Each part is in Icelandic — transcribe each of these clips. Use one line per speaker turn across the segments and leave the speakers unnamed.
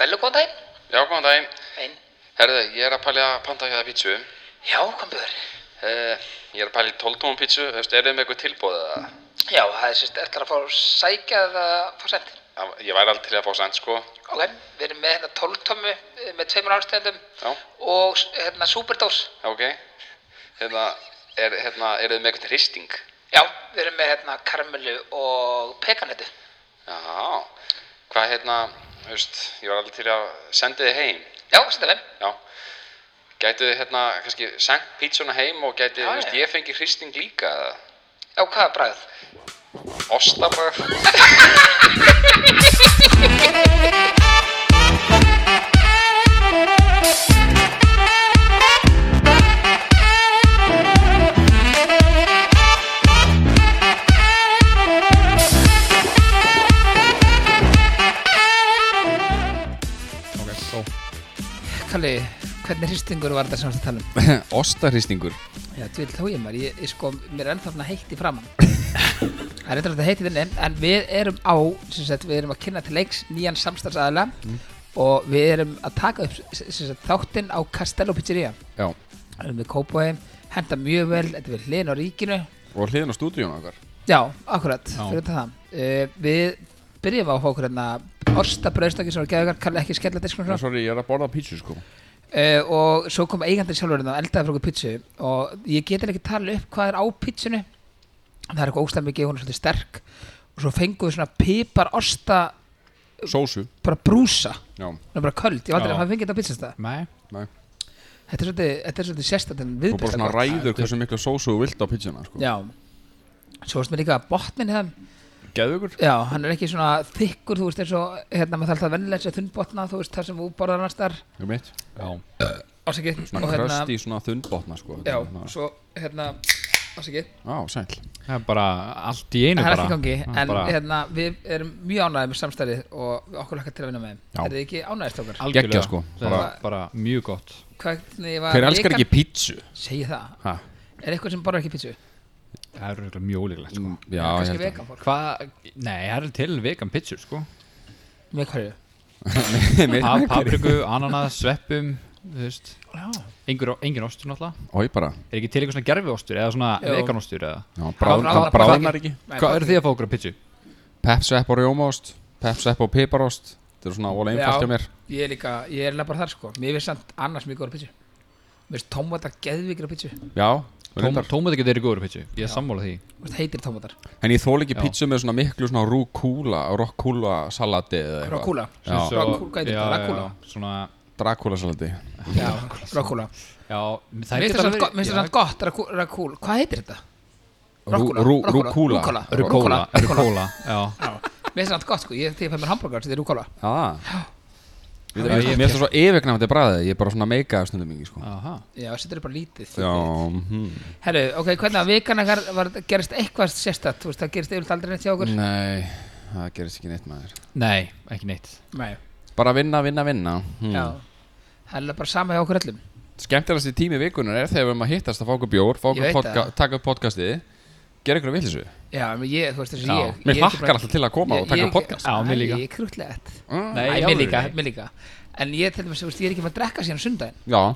Bellu, góðan daginn.
Já, góðan daginn.
Einn.
Herðu, ég er að pælja að panta hjá það pítsu.
Já, kom bör.
Uh, ég er að pælja í 12 tónum pítsu. Þú veist, er þið með eitthvað tilbúið eða?
Já, það er sérst eftir að fá að sækja eða fá send.
Já, Ég væri aldrei til að fá send, sko.
Ok, við erum með hérna 12 tómmu eh, með tveimur ástæðendum
Já,
og s- hérna superdós.
já, ok. Hérna, er, hérna, er þið með eitthvað hristing?
Já, við erum með hérna karmelu og pekanetu.
Já, hvað, hérna, þú veist, ég væri aldrei til að senda þið heim.
Já, senda þeim.
Já. Gætu þið, hérna, kannski, send pítsuna heim og gætu,
Já,
þú veist,
já.
ég fengi hristing líka eða?
Já, hvað er bræðið?
Ostabræð?
Ok, þó
Kalli, hvernig hristingur var þetta sem við talum?
Ostahristingur?
Já, þú vil þá ég maður, ég, ég sko, mér er ennþá svona heitt í framann Það er eitthvað að heiti þinni En við erum á, sem sagt, við erum að kynna til leiks nýjan samstarfsaðala Og við erum að taka upp sem sagt, þáttinn á Castello Pizzeria
Já.
Það erum við kópaði, henda mjög vel, þetta er við hliðin á ríkinu
Og hliðin á stúdíun okkar?
Já, akkurat,
Já.
fyrir þetta það uh, Við byrjum á að fá okkur hérna Orsta brauðstakki sem var geðugar, kalli ekki skella diskunum
Sorry, ég er að borða pítsu sko
uh, og svo kom eigandinn sjálfur hérna og eldaði frá okkur pítsu og ég get eiginlega ekki tala upp hvað er á pítsunni það er eitthvað óslega mikið, hún er svolítið sterk og svo fengum við svona pipar osta
Sósu?
bara brúsa,
Já.
hún er bara köld ég valdur
Já.
að hafa fengið þetta á pítsastæð
Nei
Nei.
þetta er svolítið, þetta er svolítið sérstættin
Þú bara svona
viðbyrsta
ræður hversu mikla sósu þú vilt á pítsuna sko.
já svo varst mér líka að botnin hérna
Geðugur
já, hann er ekki svona þykkur þú veist eins og hérna maður þarf það vennilega eins og þunnbotna þú veist þar sem þú borðar annars þar
Þú mitt
Já
ásakið
Svona kröst í svona þunnbotna sko.
hérna- já,
Svona-
svo hérna ásakið
Á, sæl
Það er bara allt í einu
Það er
bara
ekki í gangi,
Mm.
Það er
en
bara
hérna, við erum mjög ánægðið með samstærið og okkur lakka til að vinna með þeim.
Já.
Er þið ekki ánægðist okkar?
algjörlega.
Geggjað, sko.
Það er
Bara-
bara mjög gott
Hvernig var
Hver elskar ekki pítsu?
Segji það.
Ha?
Er eitthvað sem borðar ekki pítsu?
Það er örugglega mjög ólíklegt sko
Mm, Já,
Kannski
ég held
vegan fólk.
Hvað Nei, það er til vegan pítsur sko
Með hverju?
það
Pa- Papriku, ananas, sveppum Þú veist
Já.
Engur, engin ostur náttúrulega
Ói bara
Er ekki til eitthvað svona gerfiostur eða svona
Jú.
veganostur eða
Já, bráð-
Ráðnar-
Hvað bráðnar ekki?
Nei,
Hvað
fólk-
eru þið að fá okkur að pitchu?
Pepsepp og rjómaost Pepsepp og piparost Þetta er svona vola einfalt
Já.
hjá mér
Ég er líka, ég er bara þar sko. Mér finnst samt annars mjög góður pítsu. Mér finnst tómatar geðvikir á pítsu. Mér
Já,
Tóm,
reyndar
tómati getur verið góður pitchu Ég er sammála því
finnst heitir tómatar.
En ég þól ekki
Já.
pítsu með svona miklu svona rúkúla Rokkúla salati eða eitthvað
Rákúla.
Já.
Rákúla, hvað heitir
Já,
þetta?
já,
Rákúla.
já, Svona
Drakúla salati
Já, rákúla.
Já,
Mér
það
finnst það samt- mér finnst það samt gott, rákú- rákúla. Hvað heitir þetta? Rákúla.
Rúkúla
Rúkúla.
Rucola Rucola, já
Já. Mér finnst það samt gott sko. Ég þegar fæ mér hambúrgar, þetta er rúkóla.
Já Við
Já,
erum-
ég-
Mér finnst það svo yfirgnafandi bræðið Ég er bara svona meika stundum ekki sko
Aha
Já, þetta er bara lítið.
Já, mhm
Herru, ok, hvernig að vikan ykkar var, gerist eitthvað sérstætt, þú veist, það gerist yfirlega aldrei neitt hjá okkur?
Nei, það gerist ekki neitt maður
Nei, ekki neitt
Nei.
Bara vinna, vinna, vinna hmm.
Já, það er eiginlega bara sama hjá okkur öllum.
Skemmtilegast í tími vikunar er þegar við erum að hittast að fá okkur bjór, fá
Ég
okkur
veit
podka
það.
taka upp podcastið Gera ykkur að vilsu
Já, en ég, þú veist, þessi
Já,
ég.
Mér
ég er ekki
hlakkar
bara-
alltaf til að koma
Ég-
og taka
ég-
upp podcast
Já, mér
Æ,
líka.
Ég er krútlegt.
mm.
Nei,
Æ,
í
mér
alvörunni?
líka, mér líka. En ég til dæmis, þú veist, ég er ekki með að drekka síðan sundaginn
Já,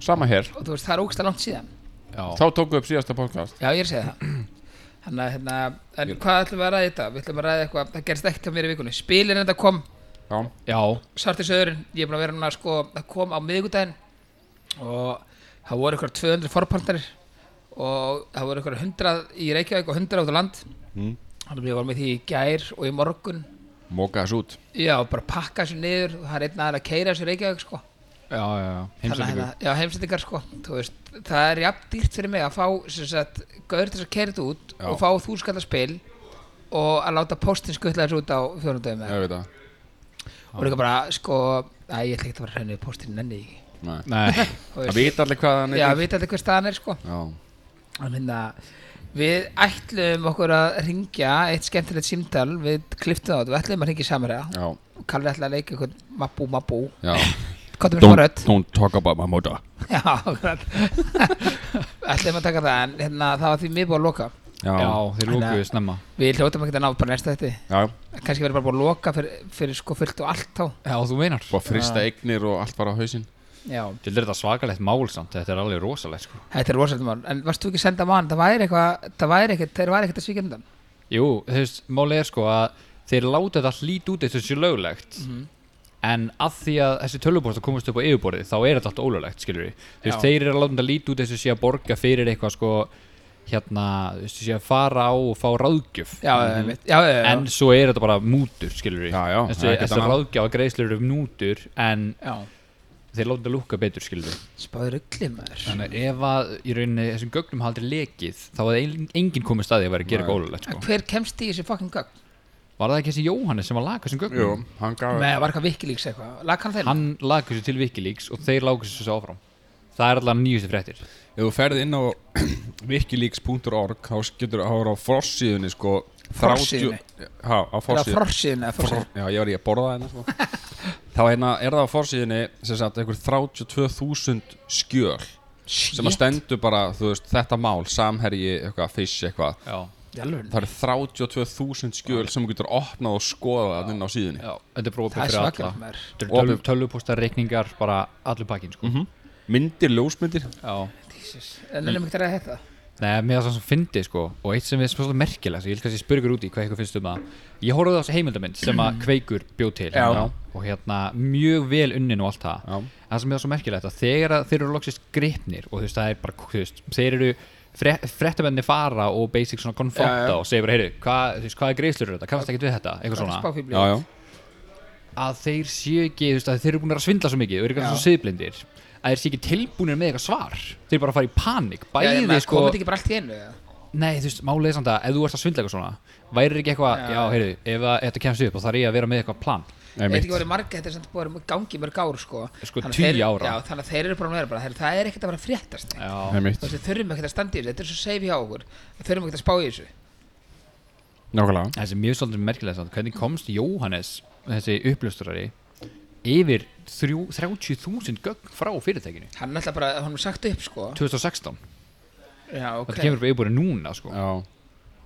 sama hér
og þú veist, það er ógsta langt síðan.
Já
Þá tókum við upp síðasta podcast
Já, ég er að segja það. Þannig að, hérna, en hvað ætlum við að ræða þetta? Við ætlum að ræða eitthvað, það gerist ekkert hjá mér í vikunni. Spilin þetta kom,
Já,
Já
Svartir Söðurinn, ég er búin að vera núna sko, það kom á miðvikudaginn og það voru ykkur 200 forpartnerir og það voru ykkur 100 í Reykjavík og 100 út á land
Mm.
þannig að ég var með því í gær og í morgun
móka þessu út
já, bara pakka þessu niður og það er einn aðeins að keira þessu í Reykjavík sko
Já, já, já Heimsækjum
Þannig að- já, heimsendingar sko þú veist, það er jafn dýrt fyrir mig að fá sem sagt, gaur til þess að keira þetta út
Já.
og fá þúskalla spil og að láta postin skuttla þessu út á fjórundöfum
Ég veit það
og líka bara sko, að ég ætla ekki að fara að hrenni postin nenni ég ekki
Nei.
Nei
Þú veist,
Það veit allir hvað hann
Já,
er
við veit allir hver staðan er sko
Já,
En hérna, Við ætlum okkur að ringja eitt skemmtilegt símtal við kliftum það, út. við ætlum að ringja samara
já,
og Kalli ætla að leika eitthvað mabú mabú
já
Kottum við
Don't,
sparöð
don't talk about my mother
Já, akkurat. ætlum að taka það en hérna, það var því mér búið að loka
Já,
já,
þeir
Þannig að-
lókuðu snemma
Við hljótum ekki að ná bara næsta þetta
já.
Kanski verður bara búin að loka fyrir, fyrir sko fullt og allt þá
Já, þú meinar
Búið að frista eignir og allt bara á hausinn
Já,
Sko, Þetta er þetta svakalegt mál samt, þetta er alveg rosalegt sko
þetta er rosalega mál En varstu ekki að senda mann, það væri eitthvað Það væri ekkert, þeir væri ekkert að svíkja undan
Jú, þú veist, máli er sko að þeir láta þetta hlít út eins og þessu löglegt en að því að þessi tölvuposta komast upp á yfirborðið þá er þetta allt ólöglegt, skilur við þú veist,
Já.
þeir eru að láta þetta lít út eins og sé að borga fyrir eitthvað sko hérna, þú veist, sé að fara á og fá ráðgjöf
Já, mm já, já, já,
en svo er þetta bara mútur, skilur við
Já, já, það
þessi,
er ekkert
þessi
annað.
ráðgjáfa greiðslur eru mútur en
já.
þeir láta þetta lúkka betur, skilur við
Spáður ugli maður
Þannig að ef að í rauninni þessum gögnum hafði aldrei lekið þá hefði ein- enginn komið staði að vera að gera
Nei.
eitthvað ólulegt
En
sko.
hver kemst í þessi fucking gögn?
Var það ekki þessi Jóhannes sem var laka þessum gögnum?
Jú, hann gaf
Með var eitthvað vikilíks eitthvað Laka hann þeim?
Hann laka þessu til Wikileaks og þeir láka þessu svo áfram Það er allavega nýjustu fréttir
Ef þú ferð inn á wikileaks.org þá getur þá er á frossíðunni sko 30
Forsíðunni?
Já, á
Eða
frossíðunni
forsiðin eða forsiðin
Já, ég var í að borða það hérna sko. Þá hérna er það á fórsíðinni sem sagt einhver 32.000 skjöl sem að stendur bara, þú veist, þetta mál samherji, eitthvað, fish, eitthvað
Já,
Það eru 32.000 skjöl sem þú getur opnað og skoða það inn á síðunni
já, þetta er brópið
Það er
fyrir alla
svakar maður
Þetta eru töl, Tölvuposta, reikningar, bara allur pakkin sko.
Myndir, ljósmyndir
Já
Jesus. En
Mm.
ennum ekki að ræða þetta
Nei, mér það sem fyndi sko og eitt sem er svolítið merkilegt, ég vil kannski spyrja ykkur út í hvað eitthvað finnst um það. Ég horfði á þessu heimildamind sem að Kveikur bjóð til
Já.
og hérna mjög vel unnin og allt það.
Já.
En það sem er svo merkilegt að þegar að þeir eru loksist gripnir og þú veist það er bara, þú veist, þeir eru fre frettamenni fara og basic
Já,
svona
já.
konfronta og segja bara, heyrðu, hvað, þú veist, hvað er greiðslur eru þetta, kannast ekki við þetta, eitthvað svona
Spáfíbli
Já, já,
að þeir séu ekki, þú veist, að þeir eru búin að svindla svo mikið og eru
Já.
eitthvað svo siðblindir að þeir séu ekki tilbúinir með eitthvað svar þeir bara fara í panik, bæði sko
Komið ekki bara allt í einu eða?
Nei, þú veist, málið er samt að ef þú ert að svindla eitthvað svona væri ekki eitthvað,
Já.
já, heyrðu, ef að þetta kemst upp þá þarf ég að vera með eitthvað plan
Þetta
einmitt
ekki voru margir, þetta er samt búið að gangi í mörg ár sko
Sko,
Þannig að
tugi
þeir-
ára.
Já, þannig að þeir eru bara að vera bara "Heyrðu, Það er ekkert að vera að fréttast neitt."
Já,
Einmitt,
Þú veist, Við þurfum ekkert að standa í þessu, þetta er svo safe hjá okkur Við þurfum ekkert að spá í þessu
nákvæmlega
þessi mjög svolítið merkilega samt hvernig komst Jóhannes, þessi uppljóstrari yfir þrjú- 30.000 gögn frá fyrirtækinu
Hann er alltaf bara, hann er sagt upp sko
2016,
Já, ok
þetta kemur upp yfirbúri núna sko.
Já,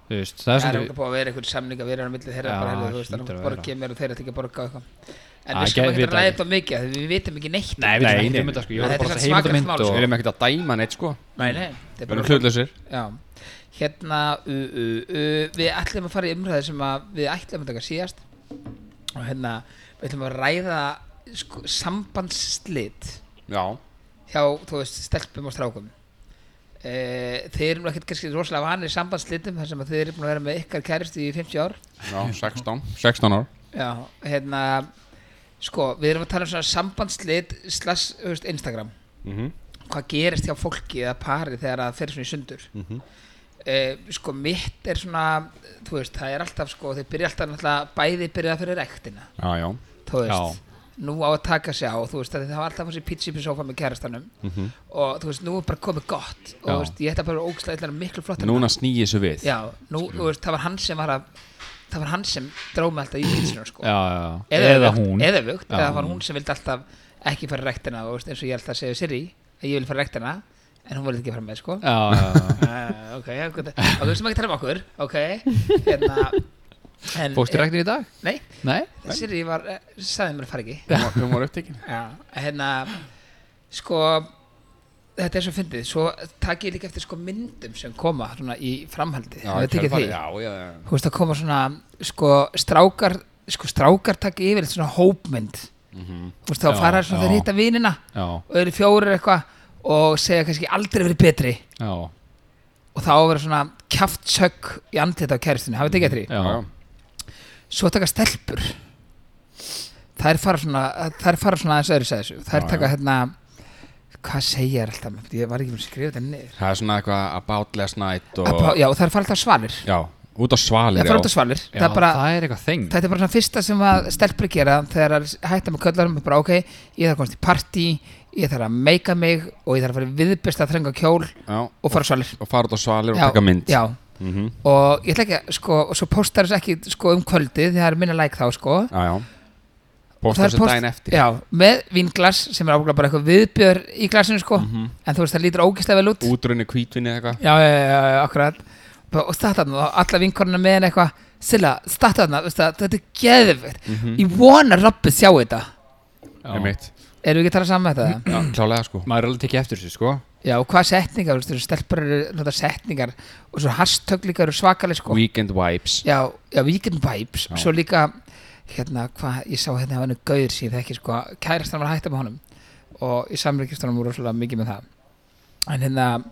Þú veist, það
Það er
er svolítið
ekki búið að vera einhvern samning að vera á milli þeirra
Já,
bara, heyrðu, þú veist,
hlýtur
þannig
að
að
vera.
borgið mér og þeirra ætla ekki að borga og eitthvað En
Æ,
við skulum
geð-
ekki
vita
að ræða
ekki.
þetta of mikið af því við vitum ekki neitt
Nei,
um
við
þetta.
veitum ekki um þetta sko, ég
Nei,
var
þetta
bara
er
að
svakalegt
heimildamind
mál, sko.
við
og
erum ekkert að dæma neitt sko
Nei, nei, þetta er
Við erum
bara
hlutlausir
Já, hérna uh, uh, uh, við ætlum að fara í umræði sem að við ætlum að taka síðast og hérna við ætlum að ræða sko, sambandsslit
Já,
hjá, þú veist, stelpum og strákum Uh, þeir eru nú ekkert kannski rosalega vanir sambandsslitum þar sem að þeir eru búin að vera með ykkar kærist í 50 ár
já, 16 16 ár
Já, hérna sko, við erum að tala um svona sambandsslit slags, þú veist, Instagram
Mhm.
hvað gerist hjá fólki eða pari þegar það fer svona í sundur mm
Mhm.
sko mitt er svona þú veist, það er alltaf sko þeir byrja alltaf náttúrulega bæði byrja fyrir rektina
Já, já,
þú veist, nú á að taka sig á þú veist, að það var alltaf þessi pizza upp í sofa með kærastanum
Mhm.
-hmm. og þú veist, nú er bara komið gott og
Já.
þú veist, ég ætla bara að ógstlega ætla að vera miklu flottar en
núna snýi þessu við
Já, nú, þú veist, það var hann sem var að það var hann sem dróð mig alltaf í pizzinu sko
já, já, já. eða
öfugt,
hún
eða, öfugt,
Já.
eða það var hún sem vildi alltaf ekki fara í rektina og veist, eins og ég alltaf segja Siri að ég vil fara í rektina en hún vildi ekki fara með sko
Já, já, já.
uh, ok, ok, ok, við sem ekki tala um okkur ok hérna, en, eh,
Fórstu rektin í dag?
nei,
Nei?
Siri var, eh, sagði mér að fara ekki
Hún var- Hún var upptekin
já, hérna sko þetta er svo fyndið, svo takk ég líka eftir sko myndum sem koma svona í framhaldi
Já,
Hefur þetta ekki
kjölfarið,
því,
Já, já, já
þú veist að koma svona sko strákar sko strákar takk yfirleitt svona hópmynd
Mhm.
þú veist þá
Já,
fara svona
já.
þeir hitta vinina
Já,
og þeir eru fjórir eitthvað og segja kannski aldrei verið betri
já,
og þá á að vera svona kjaftsögg í andlita á kæristinu, hafið þið ekki eftir því
já,
Já, já.
svo taka stelpur þær fara svona þær fara svona aðeins öðru sæðis þær
Já,
taka hérna hvað segja þær alltaf, ég var ekki búin að skrifa þetta niður
Það er svona eitthvað about last night og
Appa, já, þær fara alltaf á svalir
Já, út á svalir
þær fara alltaf á svalir,
já,
það er bara
það er eitthvað þeng
Þetta er bara svona fyrsta sem að stelpur gera þegar að hætta með köllarum bara ok, ég þarf að komast í partí ég þarf að meika mig og ég þarf að fara í viðbesta að þrenga kjól
Já,
og fara á svalir
og fara út á svalir og taka mynd
já,
Mhm.
og ég ætla ekki að sko, og svo postar þess ekki sko um kvöldið því það er minna læk þá sko
já, já.
Og það
Postar
er
þessu daginn eftir
já, með vinglas sem er ábúinlega bara eitthvað viðbjör
Mm. Mhm.
í glasinu sko en þú veist það lítur ógislega vel út
Útrunni kvítvinni eitthvað
já, já, já, já, akkurat og startaðna og alla vinkorna með henni eitthvað Silla, startaðna, þetta er geðvikt
Mm.
ég vona að Robbi sjá þetta
Mhm. einmitt
erum við ekki að tala saman með þetta?
Já, klálega sko
Maður er alveg tekið eftir þessu sko
Já, og hvað setningar, þú veist, eru stelpur eru nota setningar og svo hashtag líka eru svakaleg sko
Weekend vibes
Já, já, Weekend Vibes Svo líka, hérna, hvað Ég sá hérna að hann er gauður síðan ekki sko Kærastan var að hætta með honum Og í samreikist honum voru svolítið mikið með það En hérna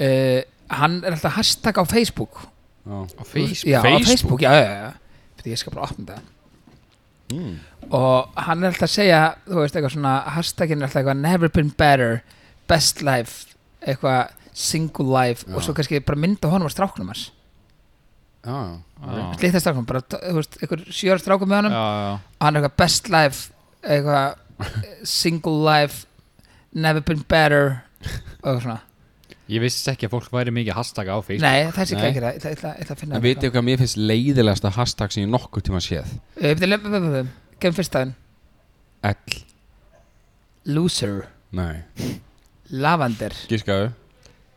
uh, Hann er alltaf hashtag á Facebook
Já.
Facebook? Já, á Facebook, já, já, já Fyrir ég skal bara opna það
Mm.
Og hann er alltaf að segja Þú veist, eitthvað svona Hashtaginn er alltaf eitthvað Never been better Best life Eitthvað single life og svo kannski bara mynda honum og stráknum hans
Já, já
Já,
litla strákum, bara, þú veist, einhver sjöra strákum með honum
já, já
og hann er eitthvað best life eitthvað eh, single life never been better og eitthvað svona
Ég vissi ekki að fólk væri mikið að hashtagga á Facebook
nei, það sé
Nei.
ekki ekki það ég ætla- ég ætla- ég ætla að finna hérna.
En vitið hvað mér finnst leiðilegasta hashtag sem ég nokkuð tíma séð
það gefum fyrst aðeins
Ell
loser,
Nei
lavander
Gískaðu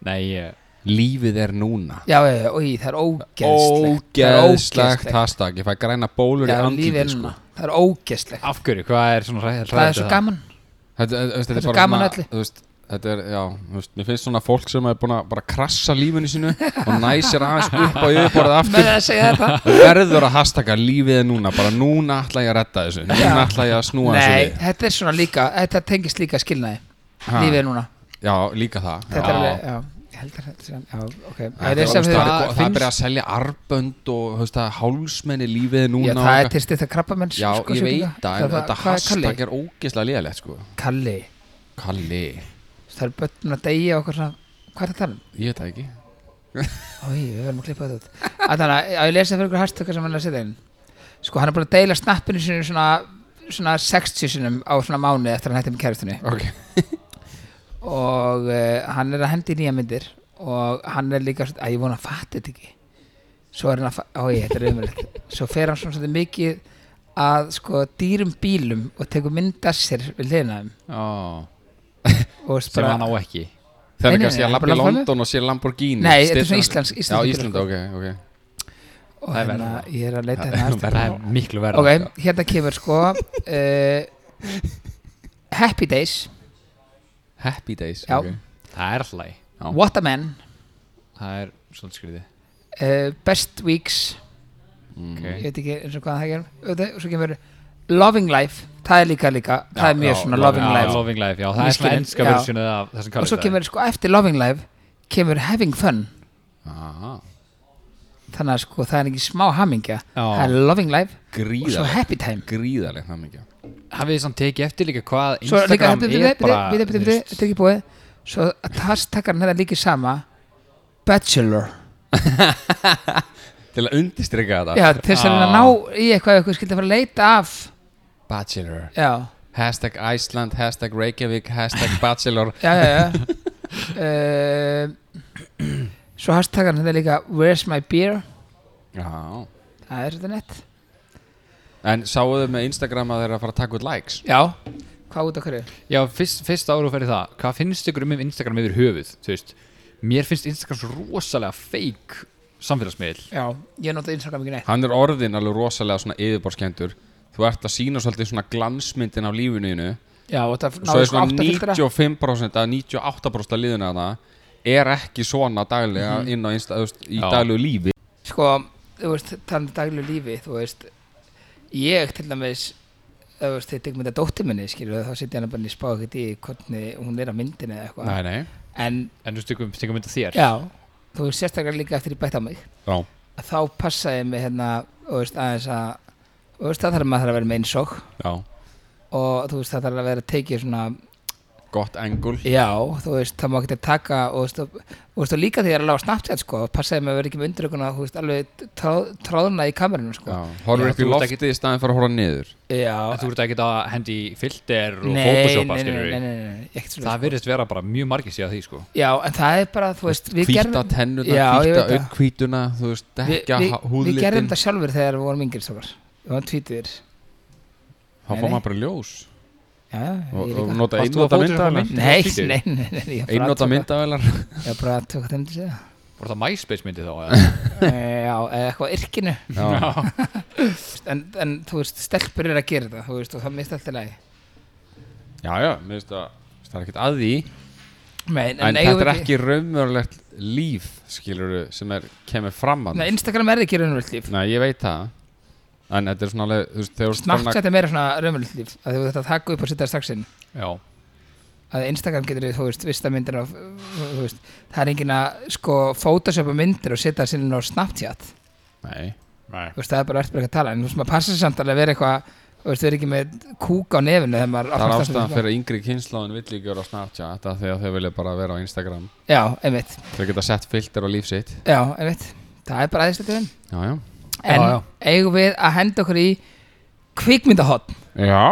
Nei, ég
Lífið er núna
já, já, já, oi, það er ógeðslegt Það er
Ógeðslegt hashtag Ég fæ græna bólur
já,
í
lífið er
andliti sko.
núna, það er ógeðslegt
Af hverju, hvað er svona ræðið
það er svo gaman
Þetta þetta- þetta
Það er
er
svo
bara
gaman
svona-
öllu.
þú veist, Þetta er, já, þú veist, mér finnst svona fólk sem er búin að bara krassa lífinu sínu og næsir aðeins upp á yfirborðið aftur
með að segja þetta
verður að hashtagga lífið er núna bara núna ætla ég að redda þessu núna ætla ég að snúa
nei,
þessu
þetta er svona líka, þetta tengist líka skilnaði
Ha.
lífið er núna
við já, líka það
þetta er
já.
alveg, já, ég held að þetta sé- já, ok
Það,
Það er um
það,
sem
það,
við-
það, það, það
finnst-
er byrjað að selja arbönd og þú veist, það, hálsmenni lífið er núna
Já,
og
það er
eitthvað.
til styrta krabbamenns
já,
sko,
ég
sjúklinga.
veit það en þetta
hvað er Kalli?
hashtag er ógeðslega léðilegt sko.
Kalli,
Kalli,
það er börnum að deyja og okkur svona Hvað er það tala um?
ég veit það ekki
Ói, við verðum að klippa þetta út Að Þannig að að ég lesa fyrir ykkur hashtag sem hann er að setja inn Sko, hann er búin að deila snappinu sinu svona svona 60 sinum á svona mánu eftir að hann hætti með kæristunni
okay.
og uh, hann er að hendi nýja myndir og hann er líka svona- að ég vona að fatta þetta ekki svo er hann að fatta, ói, þetta er umrætt svo fer hann svona svolítið mikið að sko dýrum bílum og tekur mynd að sér við hliðina á þeim
Já,
og veist
sem
bara-
hann á ekki
það
Nei,
er
nei,
kannski
nei,
að
bara
labba í
labba með.
London og sé Lamborghini
Nei, þetta er
Styttan-
svona íslensk-
já,
íslensk-
Ísland, ok, ok
og
Það er
hérna
verra.
ég er að leita
Það
hérna
er miklu verra
ok, hérna kemur sko uh, Happy Days
Happy Days
Já.
ok.
Það er alltaf
Já.
What a Man
Það er svolítið skriði
uh, Best Weeks ég
Mm.
okay.
veit ekki eins og hvað það gerum Auðvitað, og svo kemur Loving Life það er líka líka, það er mjög
já,
svona
Loving
Loving
já,
Life
Loving Life, já, það
Ég
er svona
skil.
ennska
Já.
versjónu af þessum
og
kallið
svo kemur sko eftir Loving Life kemur Having Fun
Ah,
þannig að sko það er ekki smá hamingja
Já.
það er Loving Life og svo
gríðarleg
Happy Time
gríðarleg það mikið
Hafið þið samt tekið eftir líka hvað
svo
Instagram
líka, byrju, byrju,
er bara
byrju, byrju,
þú
byrju,
veist,
þetta er ekki búið svo að hashtagarn er líka í sama Bachelor
til að undistrika þetta
Já, til þess að reyna að ná í eitthvað ef eitthvað skildi að fara að leita af
Bachelor
Já,
Hashtag Iceland, hashtag Reykjavík, hashtag Bachelor
já, já, já. uh, Svo hashtagan þetta er líka Where's my beer?
Já
Það er þetta nett
En sáuðu með Instagram að þeirra að fara að taka út likes
Já Hvað út af hverju?
Já, fyrst, fyrst ára og fyrir það Hvað finnst ykkur um Instagram yfir höfuð? Þú veist, mér finnst Instagram svo rosalega fake samfélagsmiðl
Já, ég nota Instagram ekki neitt
Hann er orðin alveg rosalega svona yfirborðskendur Þú ert að sína svolítið svona glansmyndin af lífinu þínu
Já, og það
Svo
náðu
er
sko
svona
8 filtra
95% að 98% af liðinu þarna Er ekki svona daglega
Mhm.
inn á Insta, þú veist, í
Já.
daglegu lífi
Sko, þú veist, talað um daglu lífi Þú veist, ég til dæmis Þú veist, þetta ekki mynda dóttir minni skilur Þá setja hana bara í spá ekkert í hvernig hún er á myndinu eða eitthvað
nei
En,
En þú stökum, stökum mynda um þér
já, þú veist sérstaklega líka eftir ég bætt á mig
Já,
að þá passaði ég mig hérna og veist aðeins að og veist það þarf maður að vera með eins og
já,
og þú veist það þarf að vera tekið svona
gott engul
já þú veist það má ekki taka og veist og, og, veist, og líka því að ég er að lága Snapchat sko passaði mig að vera ekki með undirökuna þú veist alveg tráð, tráðna í kamerunum sko
Já, horfur
Já,
upp í
þú ert
loftið í staðin fyrir að horfa niður
já
En þú ert ekki að hendi í filter og
nei, nei,
photoshopa,
nei, nei,
skilur
nei, nei, nei, sko. ekkert svoleiðis,
Það virðist vera bara mjög margir síðan því, sko
sko. já en það er bara þú veist við
Hvíta
gerðum
tennuna,
Já, ég
hvíta
veit það.
auðhvítuna Þú veist,
við,
dekka
við, við gerðum
húðlitin
þetta sjálfur þegar við vorum yngir stofar við varum tvítir
Þá
Nei,
fá
nei.
maður bara ljós
já,
Og,
ég
og
líka
nota
Varst þú að
einnota
fótur
myndavelar
eitthvað
nei,
Tvítugur?
nei, nei, nei, nei ég bara
Einnota
tók-
myndavelar
ég bara tók þetta um til að segja Eh,
Var það MySpace myndi þá? eða?
já, eða eitthvað á yrkinu
Já,
en, en þú veist, stelpur eru að gera þetta þú veist, og það mist alltaf lagi
já, já mér finnst að það er ekkert að því
Men,
En,
eigum
þetta er
við
ekki raunverulegt líf, skilur sem er, kemur fram að
Nei, Instagram er ekki raunverulegt líf
Nei, ég veit það En þetta er svona alveg, þú veist, þegar þú ert farin að-
Snapchat er meira svona raunverulegt líf að þú veist að taka upp og setja strax inn
Já,
að Instagram getur þú veist, vista myndir af, þú veist, það er engin að sko photoshopa myndir og setja sér inn á Snapchat,
Nei,
nei
þú veist, það er bara verðt bara eitthvað að tala en þú veist, maður passa sér samt alveg að vera eitthvað þú veist, vera ekki með kúk á nefinu þegar maður
það er
opnar
ástæðan
Snapchat.
fyrir að yngri kynnslóðin vill ekki vera á Snapchat Þetta þegar þau vilja bara vera á Instagram
Já, einmitt,
Þau geta sett filter á líf sitt
já, einmitt það er bara aðeinslega til
Já, já
en
Já, já.
eigum við að henda okkur í kvikmyndahotn,
Já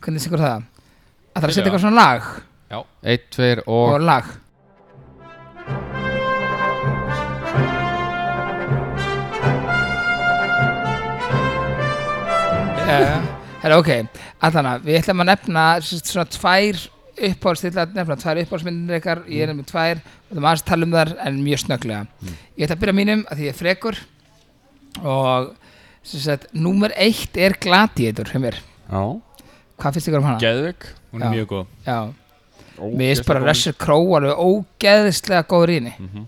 hvernig sigur það að það er að setja
Byrja.
eitthvað svona lag
Eitt, tveir
og,
og
lag Herra, ok, allana, við ætlum að nefna sem sagt, svona tvær uppáhalds, ég ætla að nefna tvær uppáhaldsmyndir ykkar, ég er nefnir tvær og það maður að tala um þar en mjög snögglega Ég ætla að byrja á mínum að því ég er frekur og sem sagt, númer eitt er gladiður hjá mér,
Já
hvað finnst ykkur um hana?
Geðvik
Hún er
Já.
mjög góð
Já, mér finnst um- bara Russell Crowe alveg ógeðislega góður í henni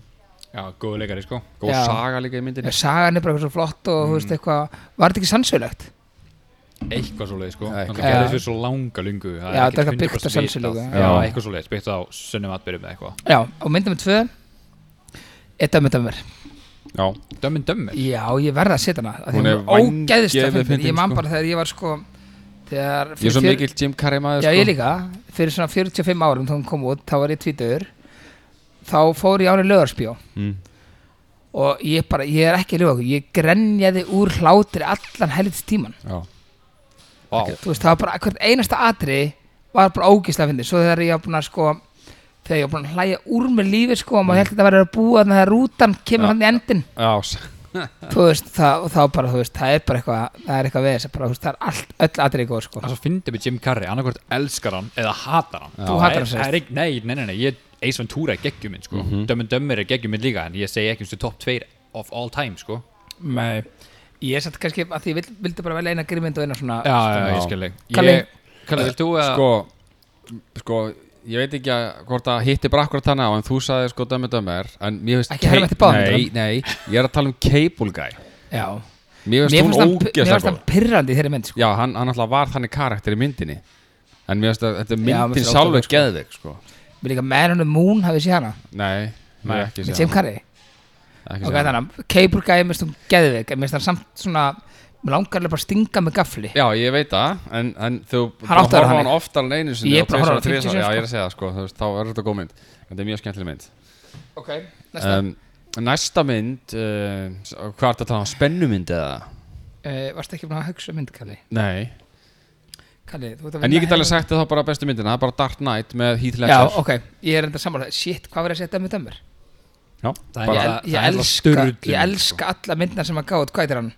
Já, góð leikari sko
Góð
Já.
saga líka í myndinni
Já, sagan er bara eitthvað svo flott og þú
Mm.
veist eitthvað, var þetta ekki sannsögulegt?
Eitthvað svo leið sko
Já,
Þannig
eitthvað.
að
Já.
gerðist við svo langa lungu
Já, þetta er eitthvað byggt á sannsögulegu.
Já,
Já.
eitthvað svo leið, byggt á sunnum atbyrjum eða eitthvað
Já, og myndum við tvö Eitt af myndum mér
Já
Dömmin dömmir
Já, ég verða að setja hana af því Hún
Hún er
er ógeðslega
vængeðið
fyndin Ég
fyndin,
man
sko.
bara þegar ég var sko þegar
Ég er svo
fyrir-
mikill Jim Carrey maður
Já,
sko.
ég líka Fyrir svona 45 árum þá hún kom út þá var ég tvítur þá fór ég ári lögarspjó
Mm.
og ég bara, ég er ekki að löga ég grenjaði úr hlátri allan helgits tíman
Já
Vá,
þú veist, það var bara, hvert einasta atri var bara ógislega fyndið, svo þegar ég var búin að sko, þegar ég var búin að hlæja úr með lífi sko, og maður held að þetta var að búa þannig að rútan kemur hann í endin,
Já, s-
þú veist, það, og þá bara, þú veist, það er bara eitthvað, það er eitthvað við þess að bara, þú veist, það er allt, öll atrið góð sko.
það er svo fyndið með Jim Carrey Annarkvort elskar hann eða hatar hann
Þú hatar hann,
Það er ekki, nei, nei, nei, nei ég, Ace Ventura er geggjuminn sko Dömmin dömmir er geggjuminn líka En ég segi ekki um stu top 2 of all time sko
Nei. Ég er satt kannski að því ég vild, vildi bara velja eina grímynd og eina svona,
Já, já,
já.
ég skil þig
Kalli-
Ég- Kalli, vilt þú uh, að
Sko Sko Ég veit ekki að hvort það hitti bara akkurat þannig á en þú sagði sko dömmi dömmir en mér finnst
Ekki
Kay-
herma eftir báðum
Nei, nei, ég er að tala um Cable Guy
já.
Mér
Mér
finnst
fannst
hún
hann- mér
ógeðslega
fannst
góð
hann pirrandi í þeirri mynd sko.
Já, hann, hann alltaf var þannig karakter í myndinni En mér finnst að þetta er
Já, mér
myndin
finnst
sjálf
ótrúlegt,
ekki geðveik sko.
Mér líka Man on the Moon hafið séð hana,
Nei,
Nei,
nei, ekki
með
séð
Jim Carrey
Ekki
Ok,
séð
þannig að Cable Guy, mér finnst hún geðveik, en mér finnst hann samt svona, mér langar alveg bara að stinga með gafli.
Já, ég veit það, en, en þú
Hann átti að vera
horfa
þannig.
hann oftar en einu sinni
Ég er
og
búin að horfa á
tvisvar og
hann 50
þrisvar. Já,
sinnum,
ég er að segja það sko, þú veist, þá er þetta góð mynd Þetta er mjög skemmtileg mynd
Ok, næsta
um, Næsta mynd, uh, s- hvað er þetta að tala um, spennumynd eða?
uh, Varst ekki búin að hugsa um mynd, Kalli?
Nei
Kalli, þú veit að
En
vinna
ég get
hérna-
alveg sagt að það bara bestu myndina, það er bara Dark Knight með Heath
Já,
Ledger
ok, ég er enda sammála Shit, hvað var ég að setja með dömur?
Já,
Það er-
Ég,
bara,
el, ég,
það er bara
elska,
sturlun,
ég
sko.
elska alla myndina sem að gáði Hvað er hann?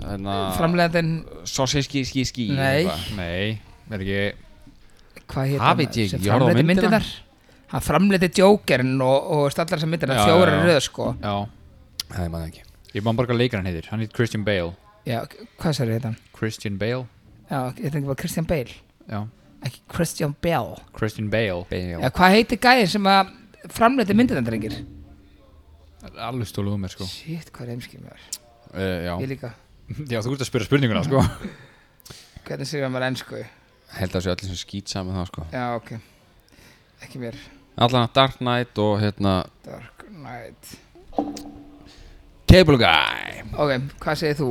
hérna,
Framlegandinn,
Sosíski, skí, skí
Nei.
eitthvað.
Nei, er ekki
hvað heit
Það veit ég
sem
ekki, ég horfði á
framleiddi
myndina.
myndirnar? Hann framleiti Jokerinn og, og stallar sem myndirna
Já,
fjóra
já, já.
röð, sko
Já,
Nei, maður ekki
ég man bara hvað leikar hann heitir Hann heitir Christian Bale
Já, hvað sér þetta?
Christian Bale
Já, ég tengi bara Christian Bale
Já,
Ekki Christian Bale
Christian Bale
Já, hvað heitir gæðin sem að framleiti myndirna, drengir?
Alveg stóluðu mér sko
Shit, hvað er heimskið með þér?
Uh, já,
Ég líka
Já, þú ert að spyrja spurninguna sko
Hvernig segir maður ennsku?
held að það sé allir sem skýt saman það sko
Já, ok Ekki mér
Allan að Dark Knight og hérna
Dark Knight
Cable Guy
Ok, hvað segir þú,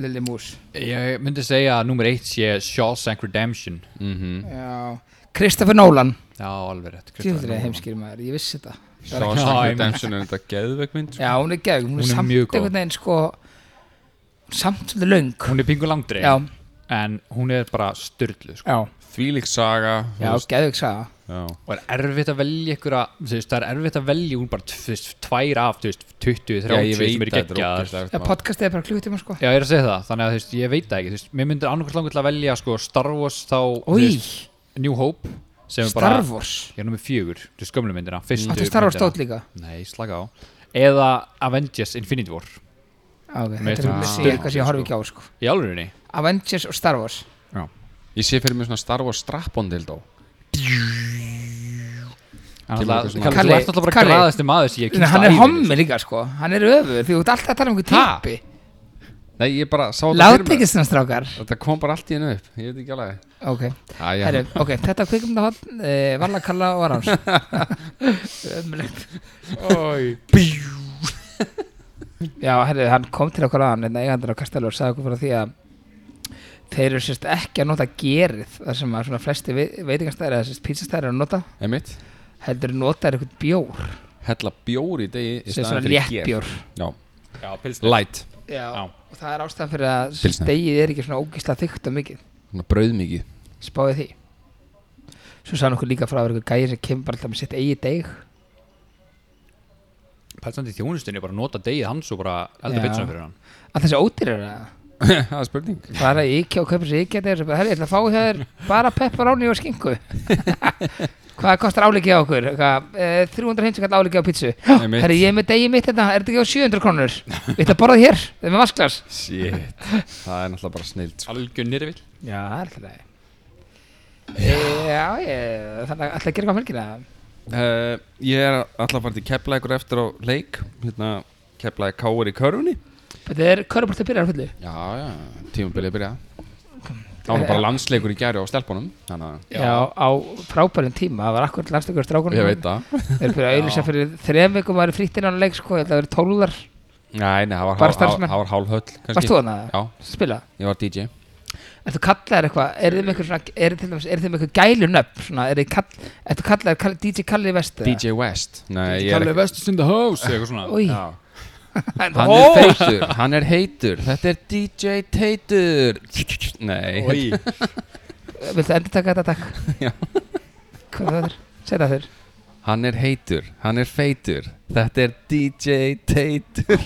Lilli Mús?
Ég myndi segja að nummer eitt sé Shawshank Redemption
mm -hmm.
Já Kristoffer Nólan
Já, alveg rétt
Kristoffer er
Nolan.
heimskýr maður, ég vissi þetta
Já,
Shawshank
ég meina-
Redemption er þetta geðveik mynd sko.
Já, hún er gegn, hún
Hún
er
er
samt
mjög góð.
einhvern veginn sko Samt svolítið löng
Hún er pingu langdreið
Já,
En hún er bara styrlu sko
já,
Þvílík saga þú
já,
veist,
geðvig saga
já.
Og er erfitt að velja ykkur að þú veist, Það er erfitt að velja úr bara tf- þú veist, tvær af þú veist, 20, 30 sem eru geggjaðar.
ógeðslega
Já,
erfitt mál.
podcastið er bara klukkutíma sko
Já, ég er að segja það, þannig að þú veist, ég veit það ekki þú veist, Mér myndir annarkvæmst langar til að velja sko, Star Wars þá þú
Új,
veist, New Hope sem er bara
Star Wars
ég er nummið fjögur, þetta er skömmlu myndina fyrstu
Áttu Star Wars
myndina.
stótt líka
nei, slaka á eða Avengers Infinity War
Á, ok,
Mér
Þetta er
finnst
alveg
það
síðan eitthvað sem ég
stutt,
horfi ekki á sko.
í álurinni
Avengers og Star Wars
Ég sé fyrir mér svona Star Wars strap-on til dó Kemur eitthvað svona-
Kalli, þú
Kalli-
ert alltaf bara
Kalli-
græðasti maður sem ég
Nei,
kynst
Hann er hommi líka sko Hann er öfur Því þú ert alltaf að tala um einhver
Ha?
típi
Nei, ég bara sá þetta
Látt
fyrir mér
ekki svona strákar
Þetta kom bara allt í hennu upp, ég veit ekki alveg
Ok,
Æ, já,
Heru, ok, þetta er kvikum það uh, Varla kalla og aráns Ömulegt
sko.
Já, herri, hann kom til okkar aðan Þetta eigandur á Kastalur sagði okkur frá því að Þeir eru sérst ekki að nota gerið Það sem að svona flesti veitingastæri Eða sérst pítsastæri eru að nota
emitt
Heldur nota er eitthvað bjór
Hella bjór í degi í
Sem
staðinn
svona
fyrir gel.
léttbjór
Já,
já, pilsnir
light,
Já,
Já.
og það er ástæðan fyrir að
Pilsner.
stegið er ekki svona ógislega þykkt og mikið
svona brauðmikið
spáði því svo sagði hann okkur líka frá að vera eitthvað gæði sem kemur bara alltaf með sitt eigi deg
pælsandi þjónustinni, bara nota degið hans og bara elda
Já.
pilsum fyrir hann
að þessi ódýr er það
Það er spurning
fara í IKEA og kaupa sér IKEA deg og svo bara, herri, ég ætla að fá þér bara pepperoni og skingu hvað kostar álíkið á okkur Hvað, eh, 350 kall álíkið á pítsu
Einmitt.
herri, ég er með degi mitt þetta er þetta ekki á 700 krónur við ætla að borða það hér, þetta er með vasklas
Shit, það er náttúrulega bara snild sko.
algjör nýrvill
já, það er alltaf það já, ég, þannig að alltaf gera eitthvað fylgina
uh, Ég er alltaf bara til keplækur eftir á leik Hérna keplæði káir í körfunni
þetta er körubolti byrjar að fullu
Já, já, tímabilið byrja Það var nú bara landsleikur í gæri á stelpunum Þannig
Já, á frábærum tíma, það var akkur landstökur
að
strákunum
ég veit það
Þeir fyrir að auðvisa fyrir þrem vikum að það eru frítt innan á leik sko, ég held að það verið tóluðar
Nei, nei, það var,
Bara
hál, hál,
starfsmenn.
það var hálf höll kannski.
Varst þú þarna?
Já,
Spila
ég var DJ
Er þú kallaðir eitthvað, er þið með eitthvað svona, er þið til dæmis, er þið með eitthvað gælu nöfn svona, er þið kall, er þú kallaðir kall, DJ Kalli Vest
DJ West Nei, ég er
Kalli Vestus in the house eitthvað svona
Új,
Já.
hann
Hann er feitur, hann er heitur Þetta er DJ Teitur Nei,
Oj.
Viltu endur taka þetta takk?
Já.
Hvað það er? Segð það þurr
hann er heitur, hann er feitur Þetta er DJ Teitur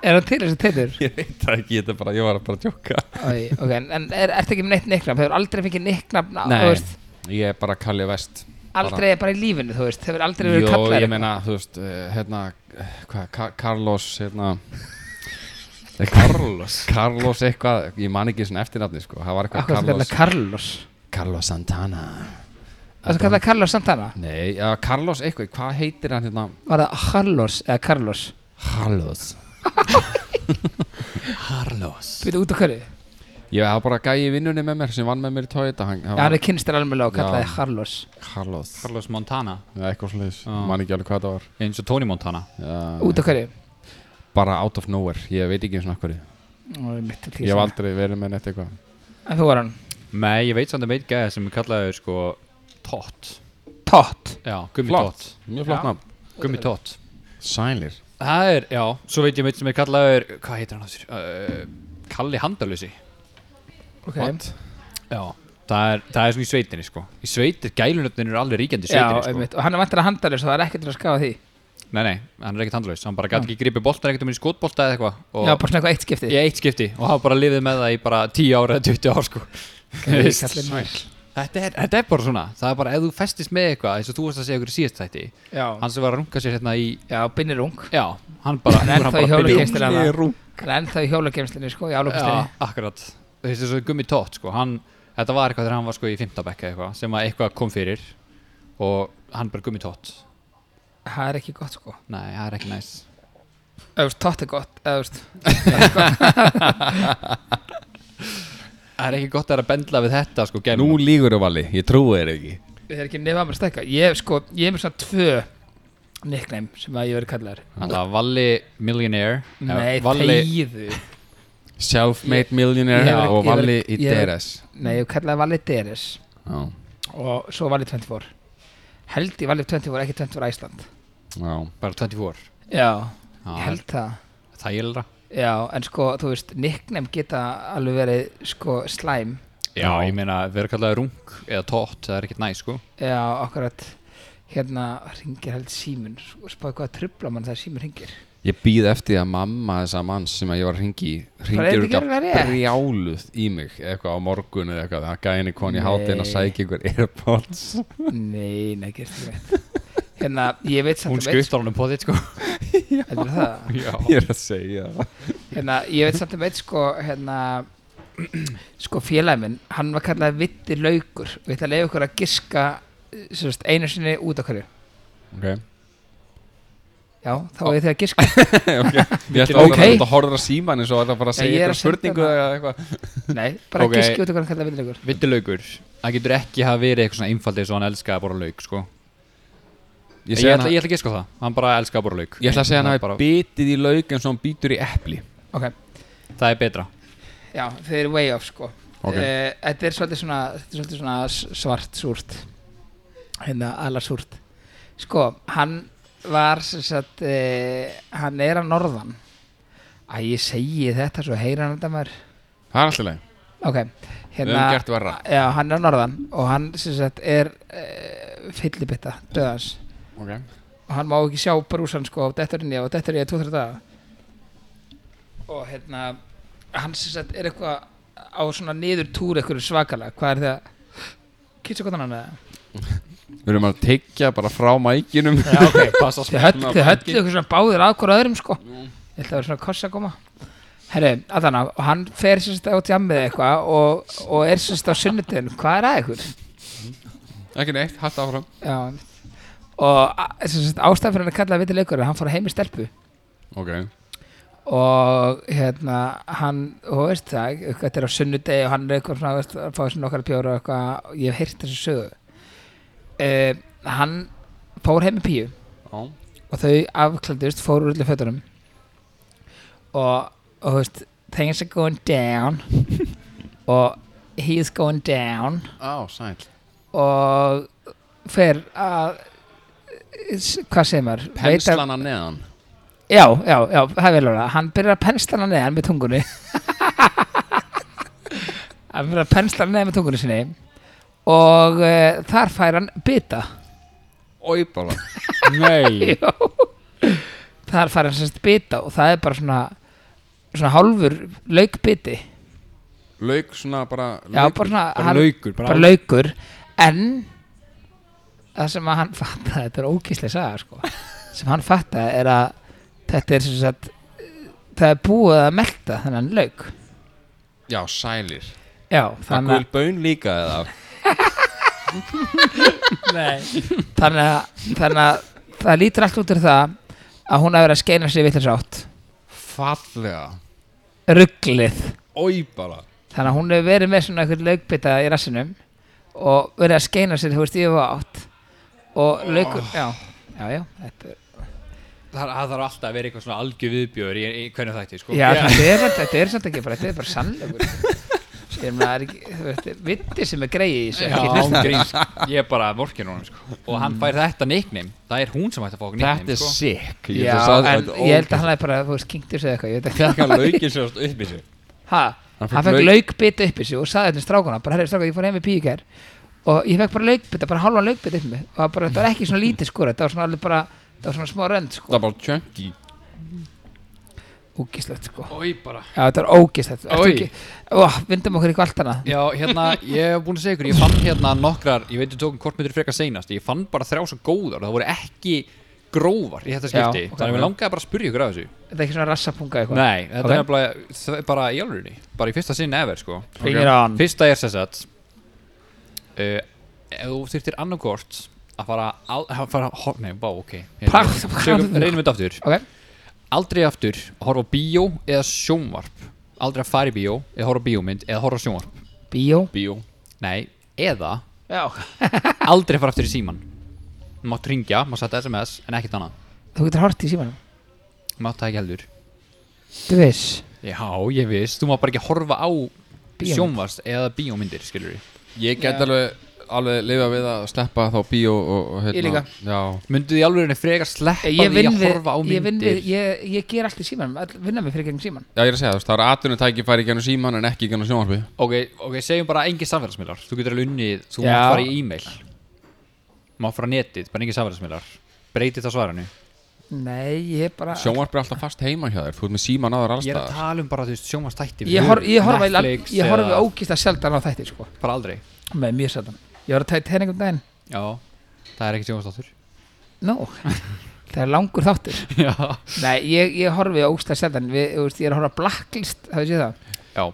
Er hann til þessi teitur?
Ég veit það ekki, þetta er bara, ég var bara að djóka
Æ, ok, en, en er, ertu ekki með neitt nicknafn? Hefur aldrei fengið nicknafn á-
Nei.
þú veist,
Ég er bara Kalli West
Aldrei bara í lífinu, þú veist, hefur aldrei verið
Jó,
kallaðir
ég
eitthvað?
meina, þú veist, eh, hérna, hvað, Ka- Carlos, hérna Carlos Carlos eitthvað, ég man ekki svona eftirnafni, sko Það var
Af
eitthvað
hverju ertu að
Carlos
kalla Carlos
Carlos Santana
Það sem kallaði Carlos Santana
Nei, já, Carlos eitthvað, hvað heitir hann hérna?
Var það Carlos eða Carlos
Carlos Carlos
Býtu út á hverju Já,
Ég hafa bara gæi í vinnunni með mér sem vann með mér í tóið hann, hann
hann er kynstir alveg og
Já.
kallaði Carlos
Carlos
Carlos Montana
Já, eitthvað sliðis,
Já.
man ekki alveg hvað það var
eins og Tony Montana
já,
Út á hverju
Bara out of nowhere, ég veit ekki eins og hverju
Nú er mitt til tíu
Ég hef
saman.
aldrei verið með neitt eitthvað
En þú var hann
Nei, ég veit samt að meit gæði sem kallaði sko Tott
Tott
Já, Gummi
Flott.
Tott
Mjög flott nafn
Gummi Tott
Sælir
Það er, já, svo veit ég meit sem er kallaður Hvað heitir hann aftur? Uh, Kalli Handalösi
Ok
Já Það er, það er svona í sveitinni sko Í sveitir, gælunöfnin eru alveg ríkjandi í
Já,
sveitinni sko
einmitt Og hann er vantilega handalur Svo það er ekkert til að skafa því
Nei, nei, hann er ekkert handalös Hann bara gæti ekki gripið boltan ekkert um í skotbolta eða eitthvað
Já,
og-
bara svona eitthvað eitt skipti
Í eitt skipti og hafa bara lifið með það í bara 10 ára eða 20 ára sko
Ég
Veist.
kalla hann.
þetta, er, þetta er bara svona Það er bara ef þú festist með eitthvað eins og þú varst að segja ykkur í síðast þætti
Já
Hann sem var að runga sér hérna í
Já, binnir ung
Já, hann bara
Hann er
hann
ennþá í
bara byrjar-
hjólageimslinni hann. Hann er ennþá í hjólageimslinni sko Í
Já,
álokastinni
akkurat Þessi svo gummi tótt sko hann, Þetta var eitthvað þegar hann var sko í 15 bekka eitthvað sem að eitthvað kom fyrir og hann bara gummi tótt
Það er ekki gott sko
Nei, það er ekki næs
Öfst, tott er gott Öfst
Það er ekki gott að vera að bendla við þetta sko gælum
Nú lígur þú vali, ég trúi þér ekki
Við erum ekki nefn að mér stækka Ég sko Ég er með svona tvö Nickname sem að ég verið kallar
Alltaf Valli Millionaire eða
Nei,
Valli
þegiðu
Self-made
Ég
millionaire
hef-
og
ég hef-
Valli í
ég hef-
DRS
Nei, ég kallaði Valli Deres
Já,
og svo Valli 24 held ég Valli 24, ekki 24 Æsland
já
bara 24
Já,
Já,
ég held það
Það er þægilegra.
Já, en sko, þú veist, nickname geta alveg verið sko slæm
Já, ég meina vera kallaði rung eða tótt það er ekkert næs sko
Já, okkur að hérna ringir held síminn sko, spáði hvað að trubla mann það síminn ringir
Ég býð eftir því að mamma þessa manns sem að ég var að ringi
Bara, er
ringir
þetta ekki alveg rétt?
brjáluð í mig eitthvað á morgun eða eitthvað það gæði henni koni
Nei.
hátinn að sækja ykkur Airpods
Nei, nei, gerst ekki veit Hérna, ég veit samt
Hún
að veit
skuttar honum på þitt sko
Heldur það?
Já
ég er að segja það.
Hérna, ég veit samt að veit sko hérna sko félagi minn, hann var kallað Vitti Laukur og ég ætla að leiða ykkur að giska sem sagt, einu sinni út af hverju
okay.
Já, þá er þið að giska
Ah.
Ég ætla að
Ok.
okay. horfa að síma hann eins og ætla bara að
Já, ég
segja
er að
ykkur spurningu
senda
eða eitthvað
Nei, bara
Ok.
okay. giski út af hverju hann kallað Vitti Laukur
Vittilaugur Það getur ekki hafa verið eitthvað svona einfaldið svo hann elskaði að borða lauk sko
Ég,
Ég,
segi hann
ætla,
að-
ég ætla ekki að sko það, hann bara elskaði að borða lauk
ég ætla að segja hann
Það
að
er bara-
hafi bitið í lauk eins og hann býtur í epli
Ok,
Það er betra
já, þau eru way off sko
Ok.
Eh, Þetta er svolítið svona, þetta er svolítið svona s- svart súrt hérna, ala súrt Sko, hann var sem sagt, uh, hann er að norðan Æ, ég segi þetta svo heyra hann þetta maður
Það er alltaf leið,
Ok,
við höfum
hérna
gert verra
Já, hann er á norðan og hann sem sagt er uh, fyllibitta, döðans
okay.
og hann má ekki sjá brúsan sko og dettur inn í og dettur í að 2-3 daga og hérna hann sem sagt er eitthvað á svona niður túr eitthvað svakalega hvað er það? Kitsa gott hann eða?
Við höfum að tekja bara frá mækinum
Já, ok, passa
Þið höll- þið höllu eitthvað svona báðir að hvora öðrum sko Þetta var svona kossa að koma Herri, allan á, og hann fer sérst á tjammið eitthvað og, og er sérst á sunnudin Hvað er að ykkur?
Ekki neitt, hætt áfram
Já Og a- sem sagt, ástæðan fyrir hann að kalla að vita leikur Hann fór heim í stelpu
okay.
Og hérna, hann, þú veist það Þetta er á sunnudegi og hann er eitthvað svona veist, að Fá svona nokkar bjóra og eitthvað Ég hef heyrt þessu sögu uh, Hann fór heim í píu
Já.
og þau afklæðust fóru úr öllu fötunum og, og þú veist things are going down og he's going down
Á, sæl
og fer að s- hvað segir maður Veit að-
Penslana neðan
já, já, já, það er vel orða hann byrjar að pensla hana neðan með tungunni hann byrjar að pensla hana neðan með tungunni sinni og uh, þar fær hann bita
Oi bara
Nei
Já. þar fær hann sérst bita og það er bara svona svona hálfur laukbiti
Lauk svona bara
já, bara svona
Bara
hann-
laukur
bara laukur en það sem að hann fattaði þetta er ókíslega saga sko sem hann fattaði er að þetta er sem sagt það er búið að melta þennan lauk
Já, sælir
já,
Það
þannig
gul bön líka eða
að nei, þannig að, þannig að það lítur allt út úr það að hún hafi verið að skeina sig vitlega sátt
Fallega
rugglið
Oi bara
þannig að hún hefur verið með svona einhvern laukbita í rassinum og verið að skeina sér þú veist ég var átt og laukur, já, já, já þetta,
Það það þarf alltaf að vera eitthvað svona algjör viðbjör í, í hvernig þætti sko
já, þetta er samt- þetta er samt ekki bara, þetta er bara sannleikur ég meina, það er ekki, þú veist, þetta er viti sem er greið í þessu
Já,
ekki
án
hlusta.
gríns Ég er bara vorkin honum sko Og hann fær þetta nickname Það er hún sem ætti að fá okkur nickname sko
sick
já, en ég held að hann er bara, þú veist, kynkt þessu eða eitthvað, ég veit ekki
Fekka laukin sérst upp í sig
ha,
Hann
hann
fékk
fekk
lauk-
laukbita upp í sig og saði þetta strákuna, bara herri strákuna, ég fór heim í píu í gær og ég fekk bara laukbita, bara hálfan laukbita upp í mig og það bara, þetta var ekki svona lítið skora, þetta var svona alveg bara, þetta var svona smá rönd,
Það
sko,
er bara chunky
úkislegt, sko
Ói bara
Já, þetta var ógist
Oj.
Ó, vindum okkur eitthvað allt annað
Já, hérna, ég hef búin að segja ykkur, ég fann hérna nokkrar, ég veit, ég tók um kortmyndur frekar seinast, ég fann bara þrjá svo góðar og það voru ekki grófar í þetta
Já,
skipti,
ok.
þannig að mér langaði bara að spyrja ykkur af þessu.
Þetta er ekki svona rassapunga eitthvað
Nei, þetta
Ok.
er nefnilega, það er bara í alvörinni, bara í fyrsta sinn ever, sko.
Bring it on.
Fyrsta er sem sagt, uh, ef þú þyrtir annarkort að fara, al, að fara, hor, nei, bá, ok. Hérna,
Pah,
Tökum, reynum þetta aftur.
Ok,
Aldrei aftur að horfa á bíó eða sjónvarp. Aldrei að fara í bíó eða horfa á bíómynd eða horfa á sjónvarp.
bíó
Bíó
Nei, eða
Já
aldrei fara aftur í síman mátt ringja, mátt setja sms en ekkert annað,
Þú getur hort í símanum
mátt það ekki heldur
Þú veist
já, ég veist, þú mátt bara ekki horfa á
Bíómynd.
sjónvars eða bíómyndir, skilur við
Ég get alveg Alveg lifa við að sleppa þá bíó og, og hérna
Ég líka.
Já
myndu því alveg henni frekar sleppa
Ég
því
vinn
að
við,
horfa á
ég, vinn við
myndir
ég, ég ger allt í símanum all, Vinna mig fyrir gegn síman
Já, ég er að segja þú veist, Það er aðtunum tækifæri gennum síman en ekki gennum sjónvarpi
ok, ok, segjum bara engin samfélagsmiðlar þú getur alveg unnið, þú
Já.
mátt fara í e-mail mátt fara á netið, bara engin samfélagsmiðlar breyti það svaranu
Nei, ég bara
Sjónvarp er alltaf fast heima hjá þér Þú ert með síman aður
Ég er
allstaðar
að tala um bara, þú veist, sjónvastætti
Ég, hor, ég horfa eiginlega- ég horfi ógist að sjaldan á þætti sko.
Bara aldrei
Með mjög sjaldan Ég var að tæta henni einhvern daginn
Já, það er ekki sjónvastáttur
Nó, það er langur þáttur
Já
Nei, ég, ég horfi ógst að sjaldan Við, þú veist, Ég er að horfa á blacklist Það sé það
Já,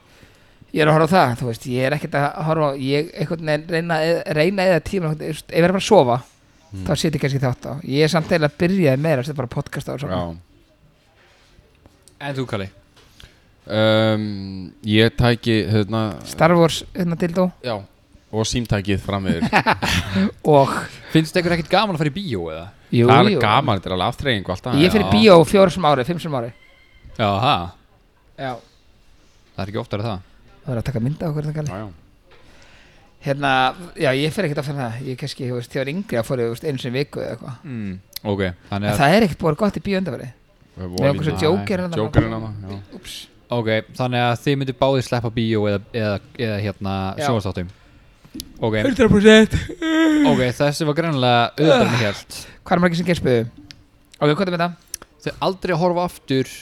Ég er að horfa á það, þú veist, ég er ekkert að horfa á- Ég einhvern veginn reyna, að eyð- reyna eða tíma einhvern veginn, þú veist, Ef ég er bara að sofa
Hmm.
Þá seti ég kannski þátt á Ég er samt eða að byrjaði meira Þetta bara podcast á og svona.
Já
en þú Kalli
um, Ég tæki hérna,
Star Wars, hérna til þó
Já Og símtækið fram yfir
Og,
Finnst ykkur ekkert gaman að fara í bíó eða?
jú,
Það er
jú
gaman, þetta er alveg aftreying alltaf
Ég fyrir
Já.
bíó fjórum sem ári, fimm sem ári
Já, ha
Já
Það er ekki oftar að það
Það er að taka mynda okkur þetta kalli
Já, já.
Hérna, já, ég fer ekkert að fyrir það Ég kannski, þú veist, þegar yngri að fóru, þú veist, einu sem viku eða eitthvað
mm. Ok, þannig
En
að
það er ekkert búið gott í bíó undanfari
Við
Með einhver
vorum
svo jókerinn
í- Jokerinn hana já.
Úps
Ok, þannig að þið myndir báðið sleppa bíó eða, eða, eða hérna
Já.
sjónvastáttum Ok,
100%
ok, þessi var greinlega auðvitað með hjælt
Hvað er margir sem gerst byrðu? Ok, hvað er með það?
Þau aldrei að horfa aftur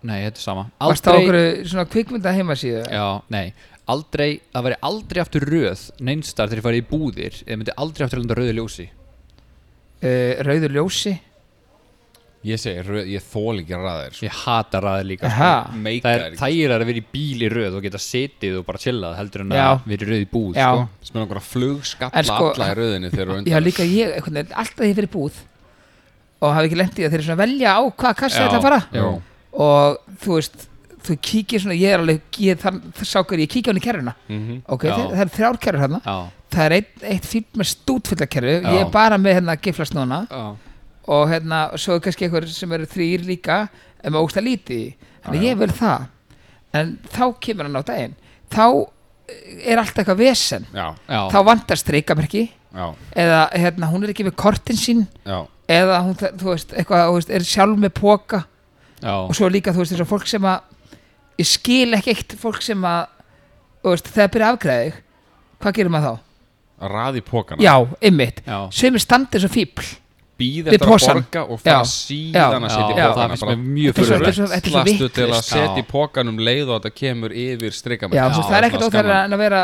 Nei, þetta er sama
Varst það
Aldrei
okkur svona kvikmynda heimasíðu?
Já, nei Aldrei, það væri aldrei aftur röð Neinstar þegar ég farið í búðir Eða myndi aldrei aftur landa rauðu ljósi
Uh, rauður ljósi
Ég segi, röð- ég þól ekki ræðir sko.
Ég hata ræði líka
Aha.
Meika
Það
er
er
ekki-
þægilega að vera í bíl í röð og geta setið og bara chillað heldur en
Já.
að vera í röð í búð
Já.
sko.
Smil einhverja flugskalla
En sko-
alla í röðinni þegar þú
Já,
undan
líka ég, einhvern veginn, alltaf ég fyrir búð og hafi ekki lendið að þeir eru svona að velja á hvaða kassa þetta að fara
Já.
og þú veist, þú kíkir svona ég er alveg, ég, þann, það sákur ég kíkja á hann í kerruna
Mhm.
ok,
Já.
það, það er þrjár kerrur hérna
Já.
það er eitt, eitt fýtt með stútfulla kerru
Já.
ég er bara með hérna giflast núna
Já.
og hérna, svo er kannski einhver sem eru þrýr líka en maður ógst að líti þannig ég vil það en þá kemur hann á daginn þá eh, er alltaf eitthvað vesen
Já,
Já.
þá vantar streikamerki
já,
eða hérna, hún er ekki með kortin sín
já
eða hún, þa- þú veist, eitthvað, þú veist, er sjálf með póka
Já.
og svo líka, þú veist, þess að fólk sem að ég skil ekki eitt fólk sem að þú veist, þegar byrja að afgræða þig hvað gerir maður þá?
Ræði pókana
Já, einmitt
Já.
Sveimir standið svo fíbl
Býð
Við
eftir að
posan.
borga og fara
Já.
síðan að
Já,
setja í
það
pókana
finnst
bara
mér mjög
Þetta er svo-
fyrirlegt
þetta er svo- þetta er svo
Slastu til að
vitlaust.
setja í
Já.
pókanum leið og þetta kemur yfir
Já,
strikkamörk
þú veist, það er ekkert óþægilega en að vera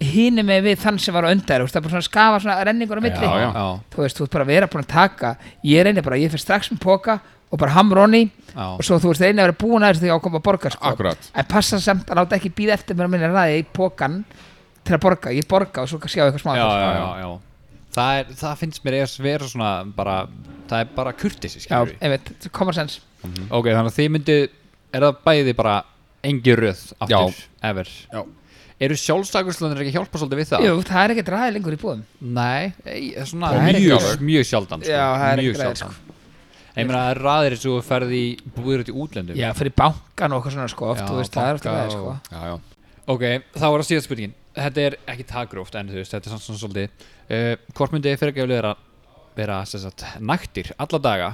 hínum með við þann sem var á undar það er bara svona að skafa svona renningur á milli
Já, já.
þú veist, þú ert bara að vera búin að taka ég reynir bara, ég fyrir strax með póka og bara hamroni
Já.
og svo þú veist, reynir að vera búin aðeins þegar ég ákoma að borga sko.
Akkúrat.
en passa samt að láta ekki býða eftir mér að minna ræði í pókan til að borga, ég borga og svo kannski á eitthvað smá sko.
já, já, já, já. Það, er, það finnst mér eða vera svona bara, það er bara kurtis
já, einmitt, common sense
Ok, þannig að þið myndu er það bæði bara engi röð aftur, ever
Já.
Eru sjálfstakurslöndir ekki að hjálpa svolítið við það?
Jú, það er ekkert ræði lengur í búðum
Nei, ei, svona
Það er
mjög,
ekki-
mjög sjaldan sko.
Já, það er
mjög
ekki ræðir,
sjaldan. Ég meina, það er raðir eins og þú ferð í búður út í útlöndum
Já, fyrir bankan og eitthvað svona sko, oft,
Já,
þú veist, það er alltaf
banka
ræði sko.
og- Ok, þá var það síðast spurningin Þetta er ekki taggróft en þú veist, þetta er samt svona svolítið uh, Hvort myndi fyrirgeflega vera, vera sem sagt, naktir alla daga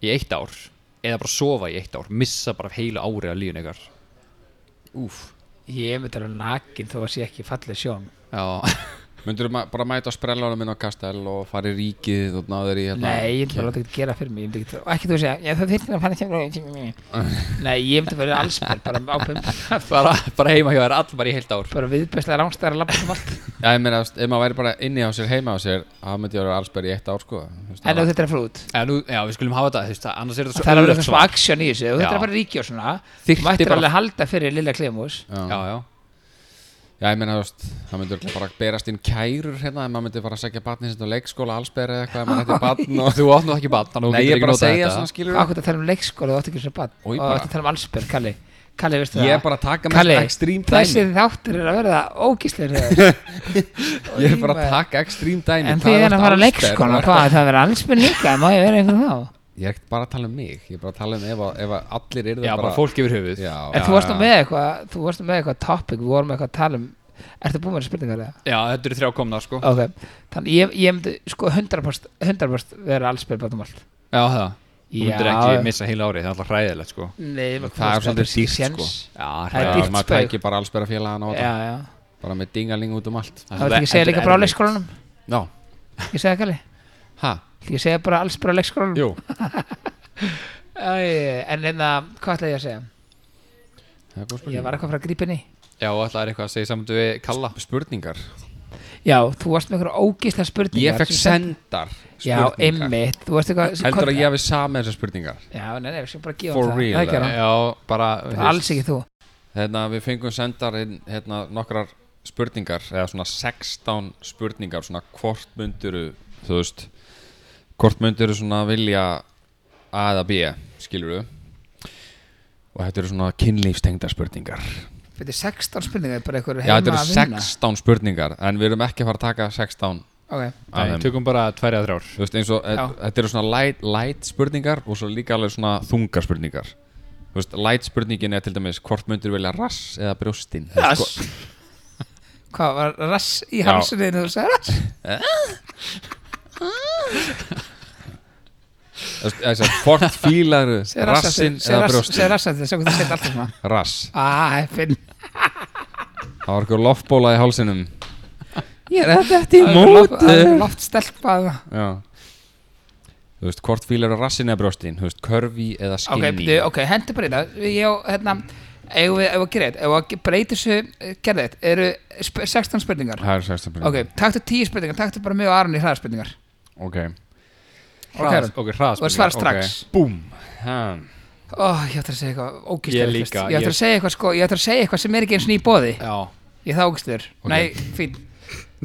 í eitt ár eða bara sofa í eitt ár, missa bara heilu ári að lífun ykkar Úf
Ég myndi alveg nakin þó að sé ekki falleg sjón
Já,
Myndur þú bara mæta á sprellanum minn á Kastel og fara í ríkið og náður í hérna
Nei, ég myndi bara láta ekki gera fyrir mig ég myndi ekki, og ekki þú segja, já, það þyrftir að fara ekki Nei, ég myndi bara alls bara, bara ápum
bara, bara heima hjá þér all bara í heilt ár
bara viðbæslega rángstæðar að lappa um allt
Já, ég meina, þú veist, ef maður væri bara inni á sér, heima á sér þá myndi ég vera alls bara í eitt ár, sko Þú veist,
en
það
ef þetta er að fara út
Já, Eh, nú, já við skulum hafa þetta, þú veist, það- annars er þetta svo sko.
það er alveg
ömurlegt
svona
svar.
aksjón í þessu ef þetta er
Já.
að fara ríki og svona
Þyrfti
þú mættir
bara-
alveg halda fyrir Lilla Klemus
var-
Já,
Já,
já,
Já, ég meina, þú veist, það myndi örugglega bara berast inn kærur hérna ef maður myndi fara að segja barnið sitt á leikskóla, allsberi eða eitthvað, ef maður hætti barn og
þú átt nú ekki bann
Nei, ég er bara að segja svona sko. skilur
ákveð að tala um leikskóla og þú átt ekki sem bann
Og
og
ég
þú
bara-
átt að tala um allsbjörn, Kalli Kalli, veistu
Ég er
það
bara að taka mest
Kalli,
extreme
þessi
dæmi
þáttur er að verða ógísleir en
Ég er bara að taka extreme dæmi
því er
Hvað ertu
að fara á
allsber?
leikskóla hvað, það verða allsbjörn líka, má ég vera einhvern þá
Ég er ekkert bara að tala um mig Ég er bara að tala um ef, að- ef að allir eru
Já, bara fólk yfir höfuð
Já,
en þú varst nú með eitthvað, þú varst nú með eitthvað topic, við vorum eitthvað að tala um ertu búin með þessar spurningar eða?
Já, þetta eru þrjá komna, sko
ok, þannig ég, ég myndi sko 100%, 100 vera allsbjörn bátum allt
Já, það Þú
Já.
myndir ekki missa heila árið, það er alltaf hræðilegt, sko
Nei, maður
Það er
komst
svolítið
ekki
dýrt,
séns.
sko.
Já,
Það er
Já,
hræðilegt
dýrt
maður
spaug.
tæki bara allsbera félagana á
Já,
þetta
já.
Bara með dingaling út um allt
Það var ekki að segja líka bara á leikskólanum
Já,
Ég segja Kalli
hæ?
Ég segja bara alls bara á leikskólanum
Jú
Æ, en hérna, hvað ætlaði ég að segja?
Það er góð
Ég
spurning. Ah,
var eitthvað frá grípinni
Já, og ætlaðir eitthvað að segja saman við Kalla
Spurningar.
Já, þú varst með einhverja ógislega spurningar
Ég fekk
sem
sendar
Já, einmitt, þú varst eitthvað
Heldur að ég hafi samið þessar spurningar?
Já, nei, nei, við skulum bara gefa
For
honum það.
real,
það
eða?
gerði hann.
Já, bara þú veist,
Alls ekki þú
Hérna, við fengum sendar inn, hérna, nokkrar spurningar, eða svona 16 spurningar, svona hvort mynduru, þú veist, hvort mynduru svona vilja A eða B, skilur við. Og þetta eru svona kynlífstengda spurningar.
Þetta er 16 spurningar, bara einhverju
Já,
heima
þetta eru
að vinna
16 spurningar, en við erum ekki að fara að taka 16
Ok,
af
Nei,
þeim.
tökum bara tværja þrjár
Þú veist, eins og, e-
Já.
þetta eru svona light, light spurningar og svo líka alveg svona þungar spurningar. Þú veist, light spurningin er til dæmis hvort myndur vilja rass eða brjóstin. Sko, Þú veist,
Rass? hvað var rass í halsinu þegar þú sagði rass?
Þess að hvort fílar
Segðu rass aftur,
rassin
segðu
eða
rass-
brjóstin
Segðu rass að þetta, sjá hvað þú segir alltaf svona
Rass,
Ah, heppin
það var eitthvað loftbóla í hálsinum
Ég er þetta eftir
í móti.
Loft stelpa
Já Þú veist, hvort fílar rassin eða brjóstin Þú veist, körfi eða
Ok,
skinni
byrju, ok, hendur bara í það Ég á, hérna Ef við, ef við gerðið, ef við breytir þessu gerðið, eru sp 16 spurningar
Það er sérsta
Ok, taktu 10 spurningar, taktu bara mjög Aron í hraðarspurningar
ok
Hraðs-
Ok, og
Ok, hraðspurningar
svara strax
Búm ha.
Ó, ég ætla að segja eitthvað ógistur
Ég líka,
Ég ætla
ég-
að segja eitthvað sko, ég ætla að segja eitthvað sem er ekki eins og ný bóði
Já,
Ég er það ógistur Nei, fín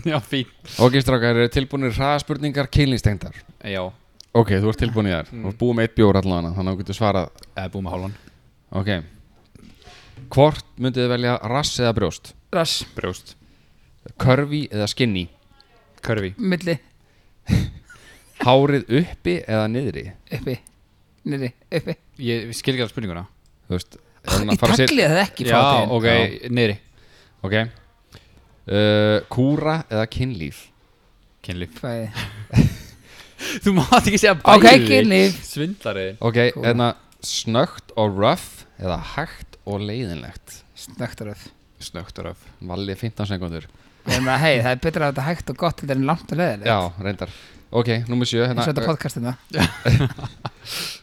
já, fín
Ok, strákar, eru tilbúinir hraðspurningar kynlýstengdar
Já,
Ok, þú ert tilbúin í þær Þú ert búið með eitt bjór allan Þannig að þú getur svarað
eða búið með hálfan
Ok Hvort myndið þið velja rass eða brjóst
Rass,
Brjóst
Körfi eða skinni
Körfi
milli,
Hárið uppi eða niðri
uppi, niðri, uppi
Ég skil ekki að spurninguna
Þú veist er hún að
Ég
fara að set-
tagliði það ekki frá
Já,
þeim
ok, niðri
Ok uh, Kúra eða kynlíf
Kynlíf
Fæði.
Þú mátt ekki segja
Ok,
bæði
kynlíf.
Svindlari
Ok,
Kúra.
hérna Snögt og rough eða hægt og leiðinlegt
Snögtaröð
Snögtur af
Valið 15 sekundur
Ég meina, hei, það er betra að þetta hægt og gott Þetta er langt og leðilegt
Já, reyndar Ok, númer 7
Eins og þetta
hérna,
podcastina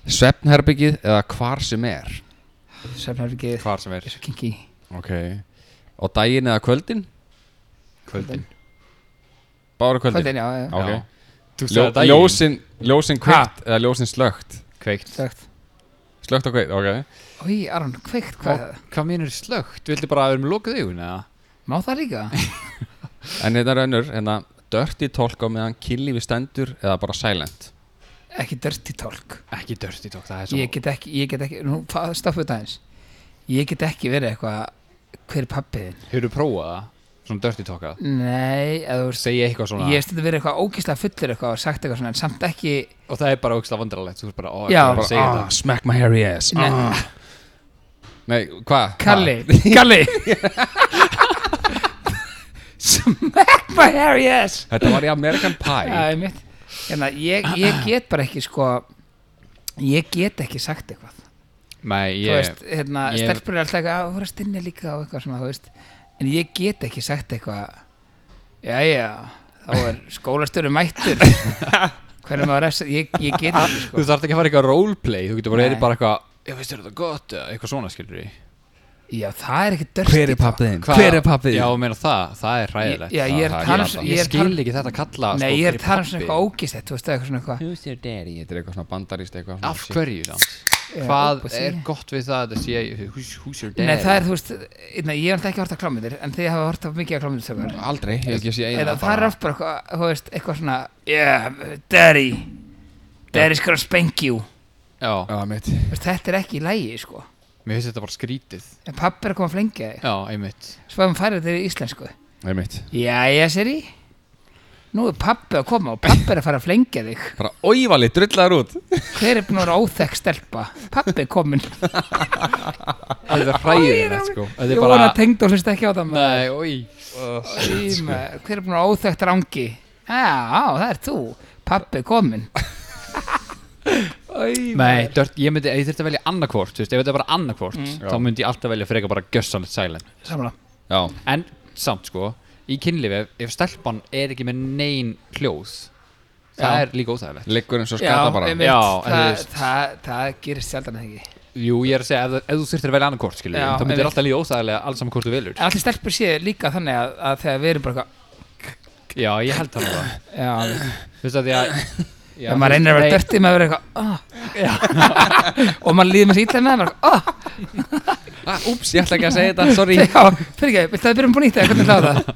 Svefnherbyggið eða hvar sem er
Svefnherfingið
Hvar sem er
Svo kinki
Ok Og daginn eða kvöldin
Kvöldin
Bára kvöldin,
Kvöldin, já, já
Ok
Já. Þú
Ljó,
sagði daginn
Ljósin, ljósin kveikt eða ljósin slögt
Kveikt
Slögt
Slögt og kveikt, ok
Í, Aron, kveikt, hvað er það?
Hvað mínur slögt? Viltu bara að við erum lokað augun eða?
Má það líka?
En hérna er önnur Hérna Dirty talk á meðan kynlífi stendur eða bara silent
Ekki dirty talk
Ekki dörst í tók, það er svo
Ég get ekki, ég get ekki Nú, fa- stoppu þetta eins Ég get ekki verið eitthvað Hver er pappiðin?
Hefurðu prófað það? Svona dörst í tókað?
Nei, eða þú veist
Segja eitthvað svona
Ég hef stundum verið eitthvað ógislega fullur eitthvað og sagt eitthvað svona en samt ekki
Og það er bara ógst af vandrarlegt Þú er bara, ó,
Já.
ekki bara
bara,
að segja
ah,
það
Smack my hairy ass
Nei.
ah. Nei, hvað?
Kalli, Kalli Smack my hairy ass
Þetta var í American Pie
Það er mitt hérna, ég, ég get bara ekki sko Ég get ekki sagt eitthvað
Nei,
Þú
ég
veist, hérna,
ég-
stelpur er alltaf eitthvað að voru að stinni líka og eitthvað svona, þú veist En ég get ekki sagt eitthvað Jæja, þá er skólastöru mættur Hvernig maður refsa, ég, ég get ekki sko
Þú þarf ekki að fara eitthvað roleplay Þú getur bara
Nei.
verið bara eitthvað Já, veistu, er þetta gott? eða Eitthvað svona skilur ég
Já, það er ekki dörst
Hver er pappiðin? Hver er pappiðin?
Já, meina það, það er ræðilegt
Já, ég er að
Það- það
tala um
er
svo- ég er
Ég,
að tala um-
skil ekki þetta kalla
Nei,
sko,
ég er
hver
að tala um svona
pabbi?
eitthvað ógíslegt, þú veist, eitthvað svona eitthvað
Who's your daddy? Þetta er eitthvað svona bandarist eitthvað svona
Af hverju þá?
Já,
Hvað
óbúsi.
er gott við það að þetta sé Who's, who's your dad?
Nei, það er, þú veist, einna, ég er alltaf ekki hort að klámyndir En þið hafa hort að mikið að klámyndir
shit. Aldrei, ég hef ekki sé eina
Eða það er oft bara eitthvað, þú veist, eitthvað svona Yeah, daddy Daddy's gonna spank you
Já,
Já, mitt
Þú veist, Þetta er ekki í lægi, sko
mér finnst þetta bara skrítið
En pappi er að koma að flengja þig
Já, einmitt
Svo hann færið þetta í íslensku
Nei, mitt
Jæja, sér Nú er pappi að koma og pappi er að fara að flengja þig
Bara óívali, drullar út
Hver er búin að vera óþekk stelpa? Pappi er komin
Þetta er ræðilegt sko Þetta
Ég
er
vona
bara
að tengd og hlust ekki á það maður.
Nei, oi
Íma, hver er búin að óþægt rangi? Já, á, það er þú Pappi komin
Nei, dört, ég myndi, ég þurfti að velja annarkvort, þú veist, ef þetta er bara annarkvort
Mm.
þá myndi ég alltaf velja frekar bara gössanlegt silent
Samla
Já,
En samt sko, í kynlífi, ef stelpan er ekki með neyn hljóð
Já.
það er líka óþægilegt
liggur eins og skata bara
einmitt,
Já, en þú
það,
veist-
það, það gerist sjaldan eða ekki
Jú, ég er að segja, ef, ef þú þurftir að velja annað kort, skilur
Já,
þá myndir
einmitt.
alltaf líða óþægilega alls saman hvort þú velur
En allir stelpur séu líka þannig að, að þegar við erum bara
Já, ég held þannig það
eitthvað Já,
Þú veist að því að Já,
ef maður reynir að vera dörtið maður verður eitthvað "Ah." og maður líður með sér ítla með maður er eitthvað,
ah, Úps, ég ætla ekki að segja þetta, sorry
"Ah." já, fyrir ekki, viltu að við byrjum búin í þetta hvernig kláða það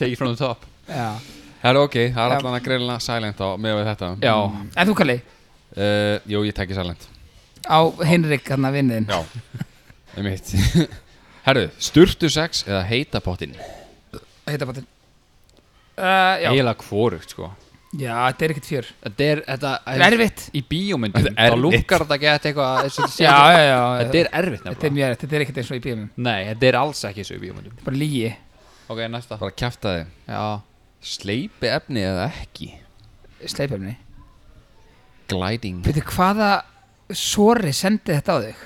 Take it from the top
já.
Herra, ok, það er
Já.
allan að grilla silent á með við þetta
Já,
en þú kalli
Eh, Jú, ég tekki silent
á Henrik hann að vinniðin
Já Einmitt Herru, sturtu sex eða heita pottin
heita bátinn uh, já.
eiginlega hvorugt, sko
já, þetta er ekkert fjör
Þetta er, þetta
Þetta er erfitt.
Í bíómyndum,
Þetta er
þá
erfitt.
lúkar þetta ekki að þetta eitthvað eins og þetta sé
já,
ekki-
já, já,
Þetta er erfitt
þetta er
nefnilega
mjög erfitt, þetta er ekkert eins og í bíum
Nei, þetta er alls ekki þessu í bíómyndum
bara lígi
Ok, næsta
Bara kjafta þið
Já,
Sleipi efni eða ekki
sleipefni
Gliding
veitu hvaða sori sendi þetta á þig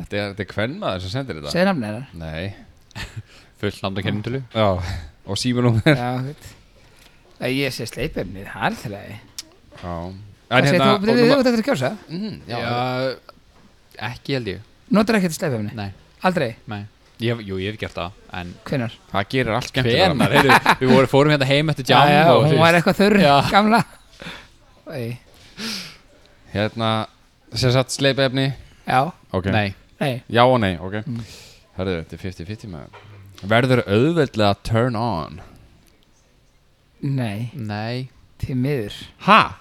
Þetta er, þetta er kvenmaður sem sendir þetta
segði namni hennar
Nei
fullt námt að kennintölu
Já Og símanúmer
já, veit Nei, ég sé sleipefni, það er alltaf leið
Já En
Það segir
hérna
þú, þú
og-
ert eftir að kjósa
Mm, Já,
Já, ekki held ég
Notar ekki þetta sleipefni?
Nei,
Aldrei?
nei ég, hef- Jú, ég hef gert það, en
Hvenær?
það gerir allt skemmtilega
Hvenar, heyrðu, við vorum, fórum hérna heim eftir jam
já,
og,
hún
þú
var
veist,
eitthvað þurr,
Já.
gamla Nei,
Hérna Sér satt sleipi efni
já,
Ok
Nei,
nei
Já og nei, ok
Mm.
Herru, þetta er 50-50 maður Verður auðveldlega turn on
Nei,
nei
til miður
Ha?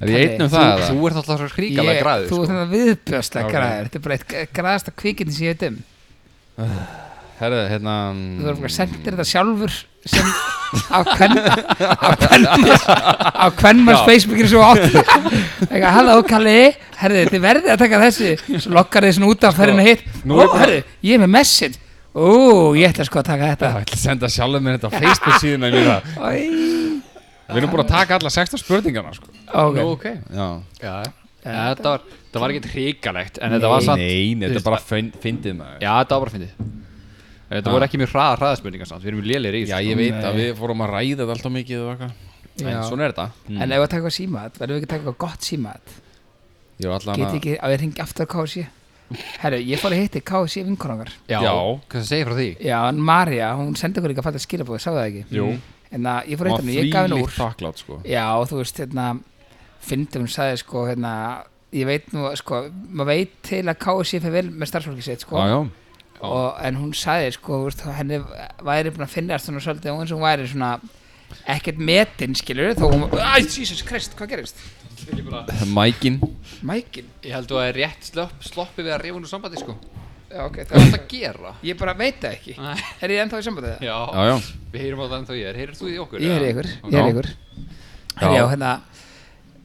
Er ég
Kalli,
einn um
þú-
það
Þú,
eða?
þú ert alltaf svo hríkalega græður
Þú
sko.
ert þetta viðbjörslega
Ok.
græður Þetta er bara eitt græðasta kvikinni sem ég veit um
Herðu, hérna
Þú erum bara sendir þetta sjálfur sem á hvern á hvernmanns á hvernmanns
Já.
Facebookir svo átt eitthvað, halló Kalli, herði þið verðið að taka þessi svo lokkar þið svona út af ferðinu hitt
nú
ó,
er bara-
herði, ég er með message ó, ég ætla sko að taka þetta
Það mm, ætla að senda sjálfur mér þetta á Facebook síðuna mína
Æ,
Við erum búin að taka alla 16 spurningarna sko.
ok
Nú, ok
Já
Já, þetta var, það var ekkert hríkalegt En þetta
Nei,
var samt
nei, nei, þetta
þú veist,
er bara fyn- fyndið maður
Já, þetta var bara fyndið Þetta
Já.
voru ekki mjög hraða hraðaspurningar samt Við erum lélir í
Já,
þessu,
ég
sko.
veit að við fórum að ræða þetta alltaf mikið og eitthvað En
Já.
svona er þetta
En ef að taka símat, verðum við ekki að taka eitthvað gott símat
Ég var allan
Get
að
ekki að ég ringi aftur KSC Herru, ég fór að hitti KSC vinkonangar
Já,
Já.
hvað það segir frá því?
Já, en Marja, hún sendi okkur líka fallega skilabóð, sá það ekki
Jú
En að ég fór að hitta
Maður
henni, ég gaf henni
þvílíkt
úr
þakklátt sko
Já, og þú veist, hérna Fyndum hún sagði, sko, hérna Ég veit nú, sko, maður veit til að KSC fer vel með starfsfólki sitt, sko
Já, já
Og, En hún sagði, sko, þú veist, henni væri búin að finna svona svolítið og eins og hún væri svona ekkert metin, skilur þó hún, æ, Jesus Christ, hvað gerist?
Mækin
Mækin,
Ég held að það er rétt slopp, sloppi við að reyfa nú sambandi sko
já, ok, það
Hvað er
var
þetta að gera?
Ég bara veit það ekki
Nei.
Er ég ennþá í sambandið það?
Já,
Já, já
við heyrum á það en þá ég er Heyrir þú í okkur?
Ég er í
eða?
ykkur, ég
Ok.
er í
Já.
ykkur
Já.
Herri, Já, hérna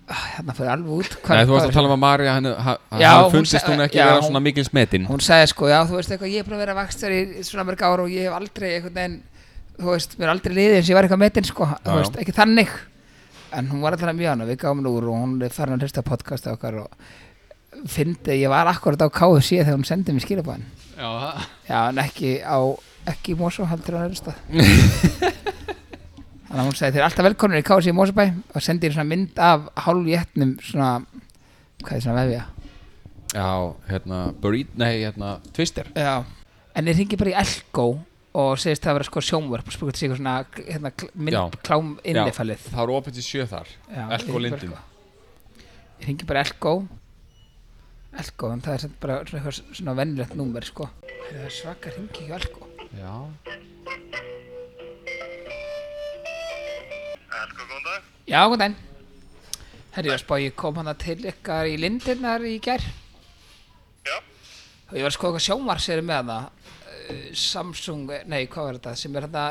ah, Hérna fyrir alveg út hvar-
Nei, þú varst
hvar-
að tala um að Marja henni ha-
Já,
Hann
hún
fundist
sa-
hún ekki
já,
vera
hún-
svona mikil smetin
Hún sagði sko, já, þú veist eitthvað, ég er búin að vera vakstur í svona mörg ára og ég hef aldrei einhvern veginn Þú veist, mér er aldrei liðið eins og ég var eitthvað metinn sko Þú
já.
veist, ekki þannig En hún var alltaf mjög hann og við gáum henni úr og hún er farin að hlusta á podcasta okkar og fyndi, ég var akkurat á KFC þegar hún sendið mér skilabæðin
Já, það-
Já, en ekki á ekki í Mosó heldur hann öðrustað Þannig að hún sagði þeir alltaf velkonur í KFC í Mosabæ og sendi þér svona mynd af hálfjætnum svona, hvað er svona vefja
Já, hérna Burrito Nei, hérna Twister
Já En ég ringi bara í Elko og segist það að vera sko sjónvörp og spurgur til sig eitthvað svona hérna, kl-
Já.
mynd klám innifælið
Það eru opið til sjö þar
Já, ég
Elko
hringi bara
Lindin.
eitthvað. Ég ringi bara Elko Elko, en það er samt bara svona, eitthvað svona venjulegt númer sko Það er svaka ringi hjá Elko
já
Elsku, góðan dag.
Já, góðan daginn. Herri, ég var að spá, ég kom hana til ykkar í lindirnar í gær
Já,
og ég var að skoða eitthvað sjómars eru með hana Eh, Samsung, nei, hvað var þetta sem er hana,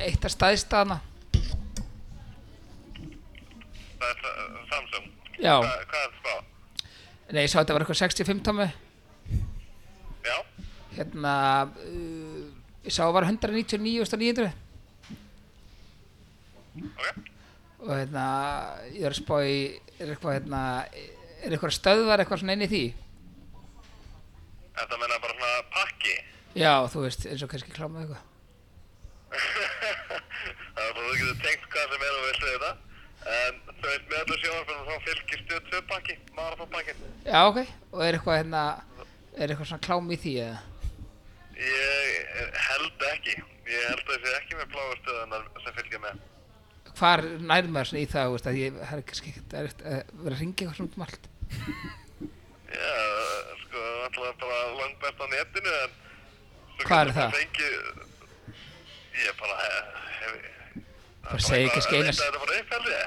eitt af staðist hana
það er Sa- Samsung.
Já,
Hva, hvað er það spá?
nei, ég sá þetta var eitthvað 65 tómi
Já,
hérna uh, ég sá að var 199.900
ok.
og hérna, ég var að spá í er eitthvað, hérna er eitthvað stöðvar eitthvað svona inn í því
Þetta menna bara svona pakki.
Já, þú veist, eins og kannski klámaði eitthvað
það er bara þú getur tengt hvað sem er og viltu þetta. ekkert.
Já, ok, og er eitthvað hérna er eitthvað svona klám í því eða
Ég held ekki. Ég held að þessi ekki með bláa stöðunar sem fylgja með.
hvar nærðu maður svona í það, þú veist, að ég það er kannski ekkert erfitt að vera að ringa eitthvað svona út um allt
Já, sko, alltaf bara langbært á netinu, en... svo
Hvað er
getur maður
það?
Fengið... Ég bara hef... hef
bara segir kannski
eina...
einas
Það er bara uppfældið, ég.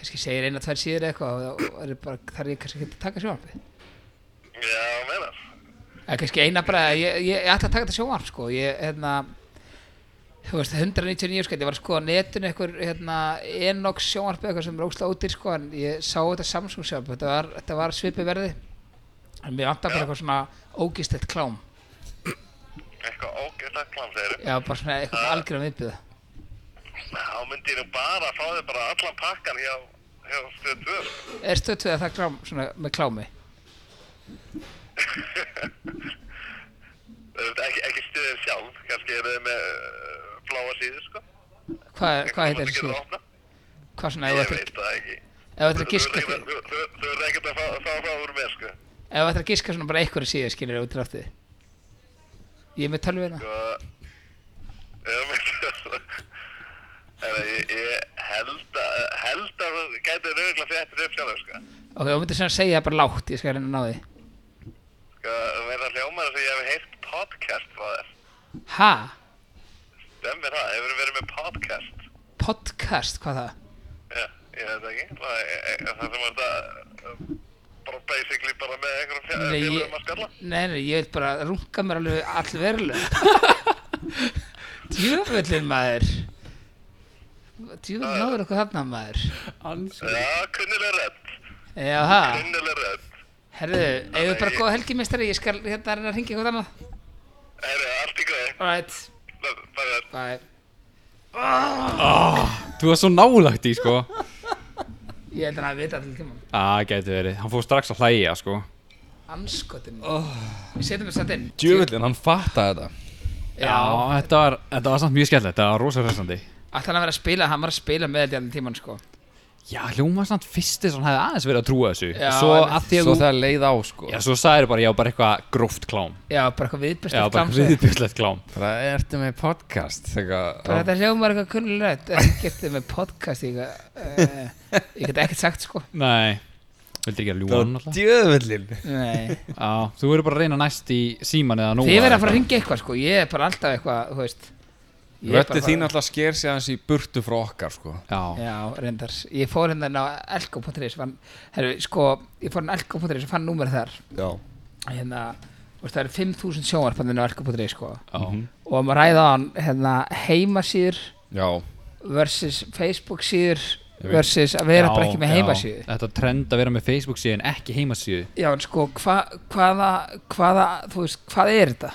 kannski segir eina, tvær síður eitthvað og þá er bara, þar er ég kannski ekkert að taka sjónvarpið
Já, meinar.
eða kannski eina bara, ég, ég, ég ætla að taka þetta sjónvarp sko, ég, hérna þú veist, 199 skall, sko, ég var að skoða á netinu eitthvað, hérna, Enox sjónvarpið eitthvað sem er óslega útir sko, en ég sá þetta Samsung sjónvarpið, þetta var, þetta var svipið verði en mér vantar bara eitthvað svona ógistett klám
Eitthvað ógeðslega klam, segir
Já, bara svona eitthvað algjörðan viðbjöða.
Þá myndi ég nú bara að fá þig bara allan pakkan hjá, hjá stöð 2. sko.
Er stöttuð að það klám, svona, með klámi?
Auðvitað Ekki, ekki stöðin sjálf, kannski eru þið með uh, bláa síðu, sko.
Hvað hva heitir
Eitthvað
þessi
sem getur
síður?
opnað.
Hvað svona, ef
Ég
þú ættir-
veit það ekki.
ef þú ættir
Þú
að giska, ef
verður ekkert að- þú- þú verður ekkert að fá- fá að fá úr mér, sko.
þú ættir að giska svona bara einhverju síður, skilur út í ráttið? Ég er með tölvina.
Sko, ég veit- En ég, ég held að, held að þú gætið rauglega fjættir upp sjálf, sko.
Ok, þú myndir svona að segja það bara lágt, ég skal reyna að ná því.
Sko, verða hljómar þess að ég hef heyrt podcast frá þér.
Ha?
Demmir það, hefur verið með podcast.
Podcast, hvað það?
Já, ég veit ekki. Það er það sem var þetta uh, bara basically bara með einhverjum fjö-
Nei, ég-
félögum að skalla.
Nei, nei, ég vil bara runga mér alveg all verulega. Djöfullin maður. Djöfullin náður okkur þarna maður.
Já, kunnileg rödd.
Já, það.
Kunnileg rödd.
Herðu, eigum við bara góða helgi, mistari, ég skal hérna reyna að hringja eitthvað annað.
Herru, allt í góði.
Alright,
Bæði þér.
bye.
Þú var svo nálagt í sko
Ég held að hann vita allir tíma.
Á, gæti verið, hann fór strax að hlæja sko
Anskotin. Við setjum þetta satt inn.
Djöfullin, hann fattaði þetta
Já,
Já.
þetta var, þetta var samt mjög skemmtilegt, þetta var rosa hressandi
Alltaf hann að vera að spila, hann var að spila með þetta allir tíman, sko.
Já, hljóma samt fyrst þess að hann hefði aðeins verið að trúa þessu
Já,
Svo
einmitt.
að því að
Svo
þú
það leið á sko
Já, svo sagðir bara, já, bara eitthvað gróft klám
Já, bara eitthvað viðbjörst.
Já, bara eitthvað viðbyrslegt klám
Það ertu með podcast
Bara
Þegar
þetta hljómar eitthvað kunnulega rætt, en getið með podcast, ég, uh, ég get ekkert sagt, sko.
Nei, vildir ekki að ljúa hann alltaf
Djöfullin
Nei.
Já, þú verður bara að reyna næst í síman eða nú
Þið verða að fara að ringja eitthvað, sko. Ég er bara alltaf eitthvað, þú veist. Ég er bara
Rötti
að
þín
fara-
alltaf sker sig aðeins í burtu frá okkar sko
Já,
Já, reyndar. Ég fór hérna inn á elko.is, fann, herru, sko, ég fór hérna á elko.is og fann númer þar.
Já
Hérna, þú veist, það eru 5.000 sjónvarpandinn á elko.is, sko.
já,
Og um að ræða hann, hérna, heimasýður
Já
versus Facebook síður
Ég veit.
versus að vera
já,
bara ekki með
já.
heimasýðu.
Þetta trend að vera með Facebook síðan, ekki heimasíðu
Já, en sko, hva, hvaða, hvaða, þú veist, hvað er þetta?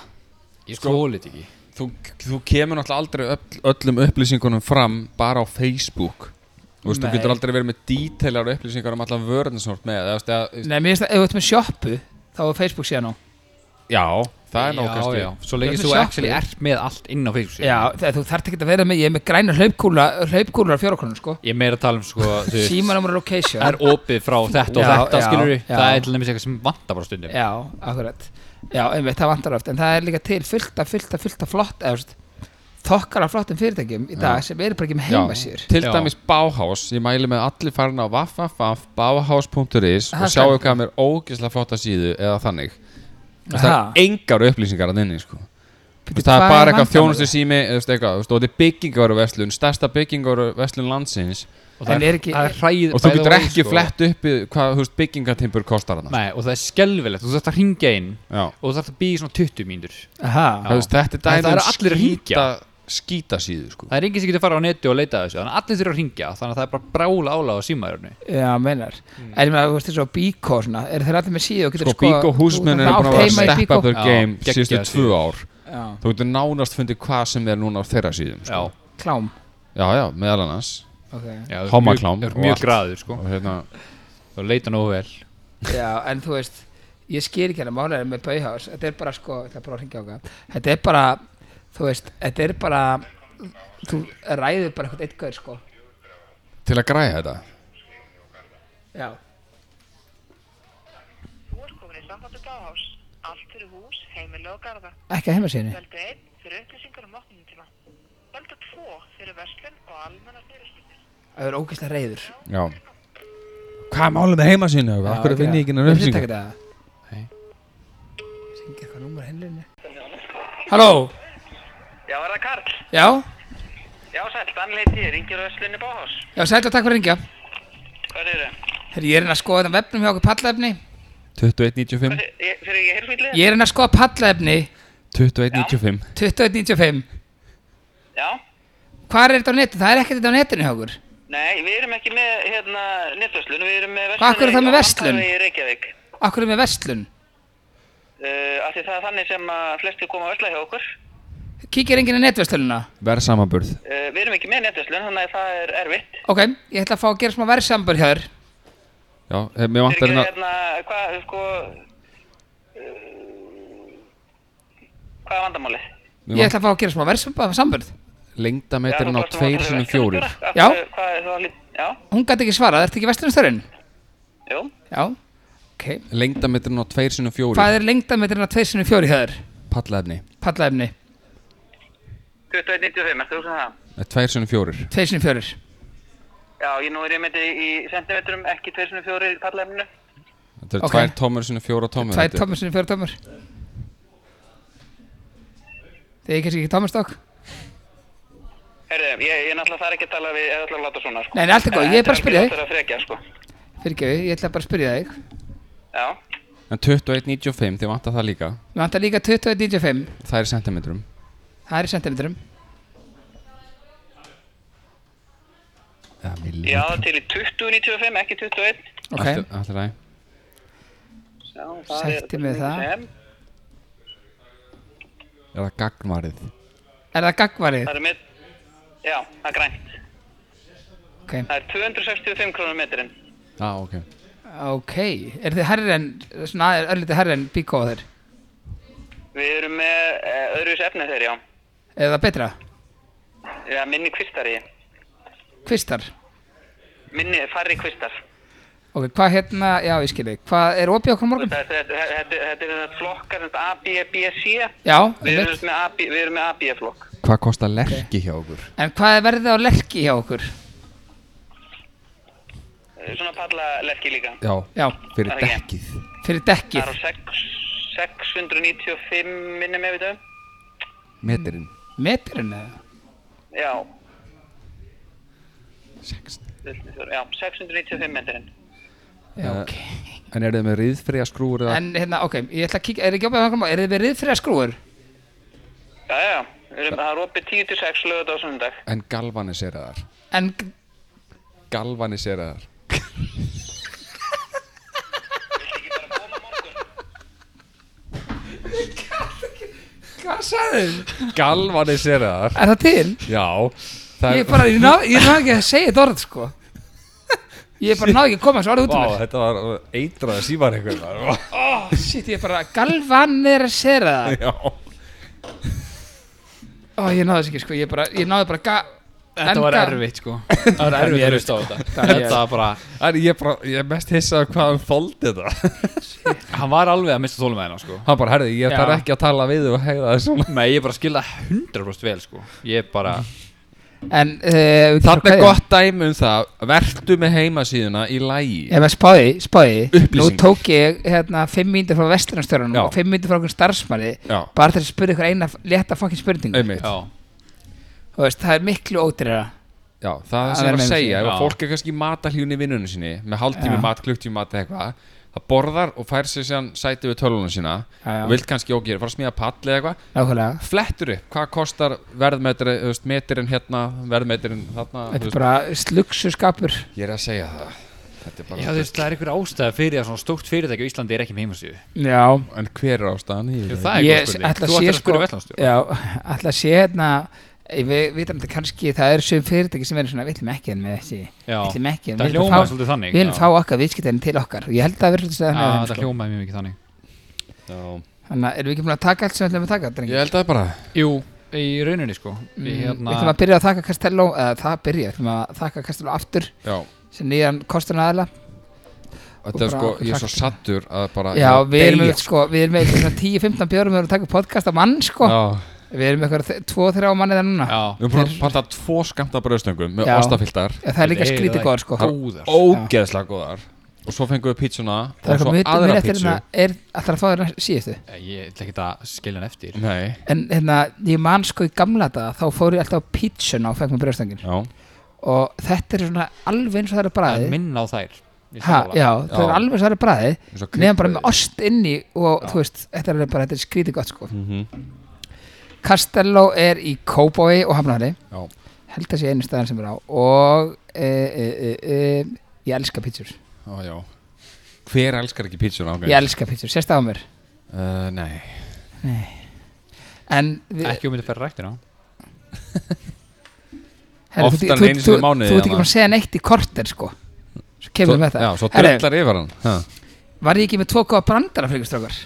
Ég þólit ekki
Þú, þú kemur náttúrulega aldrei öll, öllum upplýsingunum fram bara á Facebook Þú veist, þú
Nei.
getur aldrei verið með detailar upplýsingar um allan vörðin snort með eða, þú veist, eða,
Nei, mér finnst það, ef þú ert með sjoppu, þá er Facebook síðan á.
Já, það er
Já,
nákvæmst
já, svo
Þú
leikir
ert
þú
með
actually
sjoppu.
ert með allt inn á Facebook síðan
Já, það, þú þarft ekki að vera með, ég er með græna hlaupkúla, hlaupkúlar á fjórakrónum, sko.
Ég er meira að tala um sko, þú veist,
Símanúmer og location.
það er opið frá þetta og
Já,
þetta
já,
skilur við
já.
það er til dæmis eitthvað sem vantar bara stundum
Já, akkurat Já, einmitt, það vantar oft En það er líka til fullt af, fullt af, fullt af flott eða, þú veist, Þokkar af flottum fyrirtækjum í dag sem eru bara ekki með heima sér
Til
Já.
dæmis Bauhaus, ég mæli með að allir farin á www.bauhaus.is
Það
og
skal-
sjáu hvað mér ógeðslega flotta síðu eða þannig Þú veist, Það er engar upplýsingar að inni sko. Þú veist, Það er bara eitthvað þjónustu sími eitthvað, þú veist, og þetta er byggingaruverslun, stærsta byggingaruverslun landsins
og það
En er ekki-
það er hræð,
og þú
by the
getur
way,
sko.
sko.
ekki flett upp í hvað þú veist, byggingatimpur kostar hann
Nei, og það er skelvilegt, þú þarft að ringja inn
Þetta
og þú þarft að býja í svona 20 mínútur
Aha,
er
Það- það
dæmi
eru
um
allir að hringja.
skýta, skýta síðu sko.
það er enginn sem getur að fara á neti og leita að þessu þannig að allir þurfa að ringja, þannig að það er bara brála álag á símaðurinu
já, meinar En ég meina, þú veist, þessu á Bíkó svona Er þeir allir með síðu og getur
Mm. sko, Bíko húsmennin er búin að vera að steppa upp
Já,
game
geggjað
síðustu
síða.
tvö ár
upp
Þú getur nánast fundið hvað sem er núna á þeirra síðum
Já,
sko.
Klám
já, já, meðal annars
okay.
já það er
Hommaklám
mjög- það
og
er mjög
allt.
graður sko
og hérna,
og leita nógu vel
Já, en þú veist Ég skil ekki hérna málega með Bauhaus Þetta er bara sko, ég ætla bara að hringja á það Þetta er bara, þú veist, þetta er bara Þú ræður bara eitthvað eitthvað sko
til að græja þetta
Já
sambandi Báhás. Allt fyrir hús, heimili og garða.
Ekki að heimasíðinu.
Völdu 1 fyrir upplýsingar um opnunutíma. Völdu 2 fyrir verslun og almennar fyrirskiptir.
Það er ógeðslega reyður.
Já Hvað er málið með heimasínu? Akkur finn ég ekki nefnir
upplýsingar? Það
upplýsingar?
er þetta. Sengi eitthvað númur hennirinnu. Halló?
Já, er það Karl?
Já?
Já, sæl, Dan heiti ég, ringir Öslinni Báhás.
Já, sætla takk fyrir að ringja.
Hvað er það?
Herri, ég er hérna að skoða þetta vefnum hjá okkur pallefni.
2195
Fyrir ég heyrfýtlega?
Ég er hérna að skoða pallefni
2195
2195.
Já.
Hvar er þetta á netinu? Það er ekkert þetta á netinu hjá okkur.
Nei, við erum ekki með, hérna, netverslun, við erum með verslun.
Hvað, af hverju er það með verslun?
Við erum Reykjavík.
Akkur er með verslun.
Uh, af því það er þannig sem að flesti koma að versla hjá okkur.
Kíkir enginn í netverslununa?
Verð samanburð
Uh, við erum ekki með netverslun, þannig að það er erfitt.
Ok, ég ætla að fá að gera smá verðsambur hjá þér.
Já, eh, mér
Fyrir
vantar
ekki,
hérna
hérna, hvað, sko, uh, hvað er vandamálið?
Ég ætla að fá að gera smá verðsambur.
Lengdametirinn
Já,
á 2
þú varst nú að tala um
sinum 4
verslunarstjóra. Af
Já.
hverju- Hvað er það, lít- já,
Hún gæti ekki svarað, ertu ekki verslunastörinn?
jú.
Já, ok.
Lengdametirinn á 2 sinum 4
Hvað er lengdametrinn að 2.4 hjá þér?
Pallaefni
Pallaefni,
2195, ertu þú sem það?
2 sinum 4
2.4.
Já, ég nú er ég myndi í sentimetrum, ekki 204 í parlæminu.
Þetta eru
Ok.
2 tómur sinum 4 tómur
Tvær
þetta er-
tómur sinni fjóra tómur. Þið er kannski ekki tómurstokk?
Herðu, ég, ég náttúrulega þarf ekki að tala við, ég ætla að láta svona, sko.
Nei, nei, allt er góð, ég er bara að spyrja
Það er að frekja, sko.
Fyrirgefi, ég ætla bara að spyrja þig.
Já,
En 2195, þið vantar það líka
Við vantar líka 21.95.
Það er í sentimetrum
Það er í sentimetrum.
Já, milli
ég áða til í 2095, ekki 21.
Ok,
Allt allt í lagi.
Já,
Sætti mig það.
Sem,
Er það gagnvarið?
er það gagvarið?
það er með, já, það er grænt.
Ok,
Það er 265 krónum metrin.
Já, ah, ok
ok. Er þið herri en, svona aðeins örlítið herri en bíkóður?
Við erum með uh, öðruvis efni þeir, já.
Er það betra?
Já, minni kvistari,
Kvistar?
minni farri kvistar.
Ok, hvað hérna, já ég skilji, hvað er opið okkur á morgun?
Þetta þetta- þetta- þetta er þetta flokkar, þetta A, B, B, C.
Já,
Við erum
einmitt.
með A, B, við erum með A, B flokk.
Hvað kostar lerki hjá okkur?
En hvað er verðið á lerki hjá okkur?
Eh, Svona palla líka.
Já,
Já,
fyrir
Það er ekki.
dekkið
fyrir
Það er á
dekkið.
6 695 minnum ef við þau.
Metirinn
Metrinn eða?
Já. 6. Já, 695 metrinn.
Já, ok.
En eru þið með riðfriða skrúur eða?
En hérna, ok, ég ætla að kíkja, er ekki opið okkur á morgun? Er þið verið þrjá skrúur?
Já, já, já. Við erum, það er opið 10 til 6 lögut á sundag.
En galvaniseraðar
En,
Galvaniseraðar
hvað sagðu
Galvaniseraðar
Er það til?
Já Það
Ég bara, ég ná, ég ná ekki að segja þetta orð, sko. Ég bara ná ekki að koma þessu orð út um
Vá,
mér.
þetta var eitrað að sívar eitthvað
Oh, shit, ég bara, galvan er að segja það.
Já
Ó, ég náði þess ekki, sko, ég bara, ég náði bara ga...
Þetta var
enga-
erfitt sko Það var erfitt að hlusta á þetta Þetta var bara
En ég bara, ég er mest hissað hvað hann þóldi þetta
Hann var alveg að mista þólum sko
Hann bara, herði, ég
Já.
þarf ekki að tala við og hegða þessu
Nei, ég bara skilða 100% vel sko Ég bara
En, uh,
Þarna er gott dæmi um það Vertu með heimasíðuna í lægi
Ef maður spáði, spáði, nú
Upplýsingar.
tók ég hérna fimm mínútur frá vestlunarstörunum
Já.
og fimm mínútur frá okkur starfsmanni
Já.
bara til að spyrja ykkur eina létta fokkin spurningu
Einmitt
Já
Þú veist, það er miklu ódýrara
Já, það er
Það er
sem ég var að
með
segja,
þessu,
ef að
já.
fólk er kannski í matalhjún í vinnunum sinni, með hálftími
Já.
mat, klukktími mat eða eitthvað, það borðar og fær sér sér sæti við tölunum sína
Já, já.
og vilt kannski ógera, fara að smíða pall eða eitthvað,
Nákvæmlega,
flettur upp, hvað kostar verðmetri, þú veist, metirinn hérna, verðmetirinn þarna, þú
þetta er
veist,
bara slugsu skapur
ég er að segja það, þetta er
Já,
bara,
þú veist, það er einhver ástæða fyrir að svona stórt fyrirtæki á Íslandi er ekki með heimasíðu
Já,
en hver er ástæðan í
Það er
ég
góð spurning
ætla
Þú
að sé sko
ætlar að spyrja vettlandsstjóra
Já, ætla að sé hérna eh, Við vitum þetta kannski, það er söm fyrirtæki sem er svona, við ætlum ekki en með þessi Við
Já.
ætlum ekki en
Það
við viljum
hljómaði
fá-
svolítið þannig,
Við viljum
já.
fá okkar viðskiptæðin til okkar Ég held að það verður svolítið
Já,
þannig að
það
þeim, sko.
hljómaði mjög mikið þannig
Þannig að erum við ekki búin að taka allt sem við ætlum að taka, drengi? Mm,
Ég held að bara,
Jú, í rauninni sko Við
Við ætlum
hérna
að byrja að þakka Castello eða það byrja, við ætlum að þakka Castello aftur
já,
sem nýjan kostun aðeila
Þetta er
bara
sko, ég er svo
hrakti.
sattur að bara
Já,
ég
hérna
við erum
deyja,
með, sko, við erum með svona 10-15 bjórum við erum að taka upp podcast á mann, sko
Já,
Við erum með eitthvað 2-3 manni þar hérna núna
Já,
við erum búin að panta tvo skamta bröðstöngum með
Já.
ostafiltar
Já, Það er líka
Nei, það
skrítið
er
góður, sko
góðar
Ógeðslega góðar Og svo fengum við pítsuna
Það er
og
eitthvað
svo
mjög mjög
aðra
eftir
pítsu
hérna er alltaf að fá þér næst- síðustu
Ég ætla ekki að skilja hann eftir
Nei,
En hérna, ég man sko í gamla daga þá fór ég alltaf á pítsun á fæk með brjóðstöngin
já
og þetta er svona alveg eins og það er
að
bræði
minna á þær Ég
ha,
sammála.
Já, það er
Já.
alveg eins og það er bræði
Eins og
nefn bara
kryddbrauð.
með ost inni og þú veist, þetta er alveg bara, þetta er skrítið gott, sko
Mhm.
Castello er í Kóbói og Hafnari
Já.
held að sé einu staðan sem er á og e, e, e, e, ég elska pítsur
Já, já Hver elskar ekki pítsuna?
ég elska pítsur, sérst það á mér
Uh, nei
en við,
Ekki um þetta að fara ræktina
herri,
oftar en
þú,
einu
þú,
sinni í mánuði,
þú ert ekki
þarna.
búin að segja neitt í korter sko svo kemur við með það
Já, svo
Herri,
drullar yfir hann ha.
var ég ekki með tvo góða brandara fyrir ykkur strákar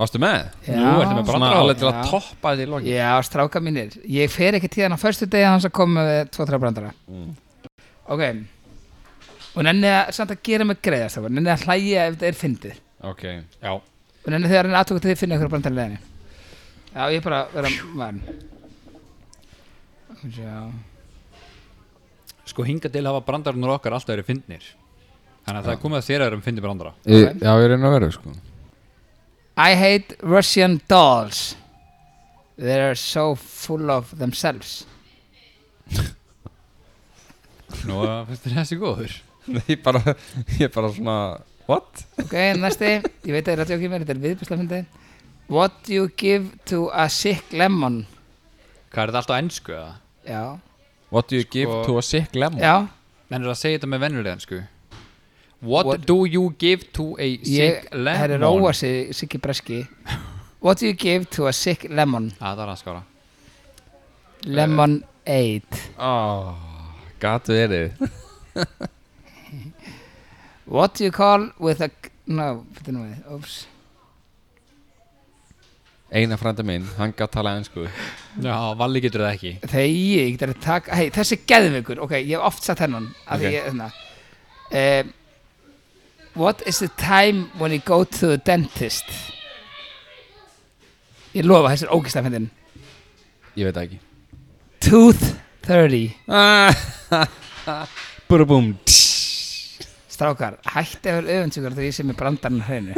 Varstu með?
Nú ertu með
Svona
brandara á.
alveg til að
Já.
toppa þetta í loki
já, stráka mínir, ég fer ekki tíðan á föstu degi hans að koma með tvo-þrjá brandara
Mm.
ok og nenni að, samt að gera mig greiða strákar nenni að hlæja ef þetta er fyndið
Ok
Já,
og nenni þegar hann aðtöku til þið finna ykkur brandar í leðinni já ég er bara að vera vann já
sko hinga til hafa brandarunur okkar alltaf verið fyndnir Þannig að það er komið að þér að vera um fyndi brandara
Í- Já, ég reyna að vera sko
I hate Russian dolls they are so full of themselves
Nú, finnst þér þessi góður?
Ég bara, ég bara svona What?
ok næsti ég veit að það er að tjókið mér þetta er viðbjörnslega fyndið what do you give to a sick lemon
Hvað er þetta alltaf ennsku eða? Sko-
já
What do you give to a sick lemon?
já
Mennir að segja þetta með vennulega ennsku What,
What-
do you give to a
ég
sick
herri
lemon?
róa sig Siggi Breski what do you give to a sick lemon
Á, Það er að skára
lemon
Eh.
aid
Oh, gatu verið
What do you call with a... No, fyrir nú við, oops.
Einar frænda minn, hann gætt tala ennsku
Já, Valli getur það ekki
Þegi, ég get að taka... Hei, þessi er geðveikur, ok, ég hef oft sagt hennan. Af því
Ok.
ég, hérna. Um, what is the time when you go to the dentist? Ég lofa, þessi er ógislega fyndin.
Ég veit það ekki
Tooth 30.
Burabum
Strákar, hætti að vera öfundsjúkar þegar ég sem er brandarinn hreinu.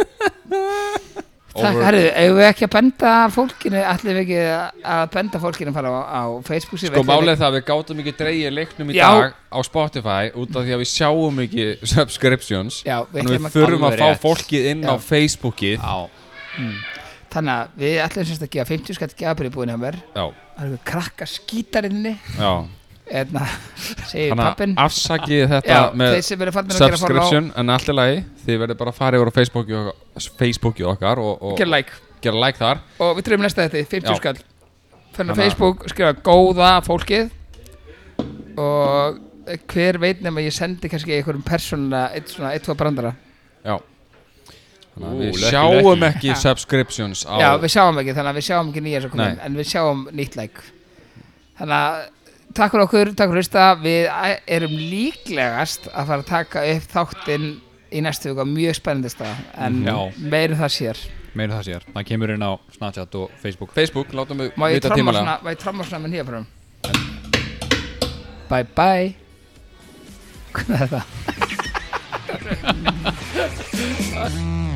Takk,
Over.
herru, eigum við ekki að benda fólkinu, ætlum við ekki að- að benda fólkinu að fara á, á Facebook síðu?
Sko málið er það að við gátum ekki dreigir leiknum í
Já.
dag á Spotify út af því að við sjáum ekki subscriptions
Já, við
Þannig
ætlum
við
að-
þurfum að
Alveg
fá
rétt.
fólkið inn á
Já.
Facebookið
Á,
Þannig að við ætlum semst að gefa 50 skatt gefabrið búin að mér
Já,
Það eru krakka skítarinni
já
Eðna, Hérna, segir
Þannig
pappin
að afsakið þetta
Já,
með
þeir sem eru farnir að gera
subscription en allt í lagi, þið verður bara að fara yfir á Facebookið okkar, Facebookið okkar og, og
Gera like
gera like þar
Og við trefum næsta þetta, 50
Já.
skatt Þannig
Þannig að-
að Facebook skrifa góða fólkið Og hver veit nema ég sendi kannski einhverjum persónulega Eitt svona, eitt, tvo brandara
Já Þannig
Ú,
að við
lucky,
sjáum
lucky.
ekki subscriptions á
Já, við sjáum ekki, þannig að við sjáum ekki nýja sem kom
Nei.
inn En við sjáum nýtt like Þannig að Takk fyrir okkur, takk fyrir að hlusta Við æ- erum líklegast að fara að taka upp þáttinn í næstu vika á mjög spennandi stað en
Já.
meirum það sér
meira um það sér Það kemur inn á Snapchat og Facebook
Facebook, látum við
Má ég
vita
tromma
tímalega
svona, má ég tromma svona með nýja frum? Bye bye Hvernig er það?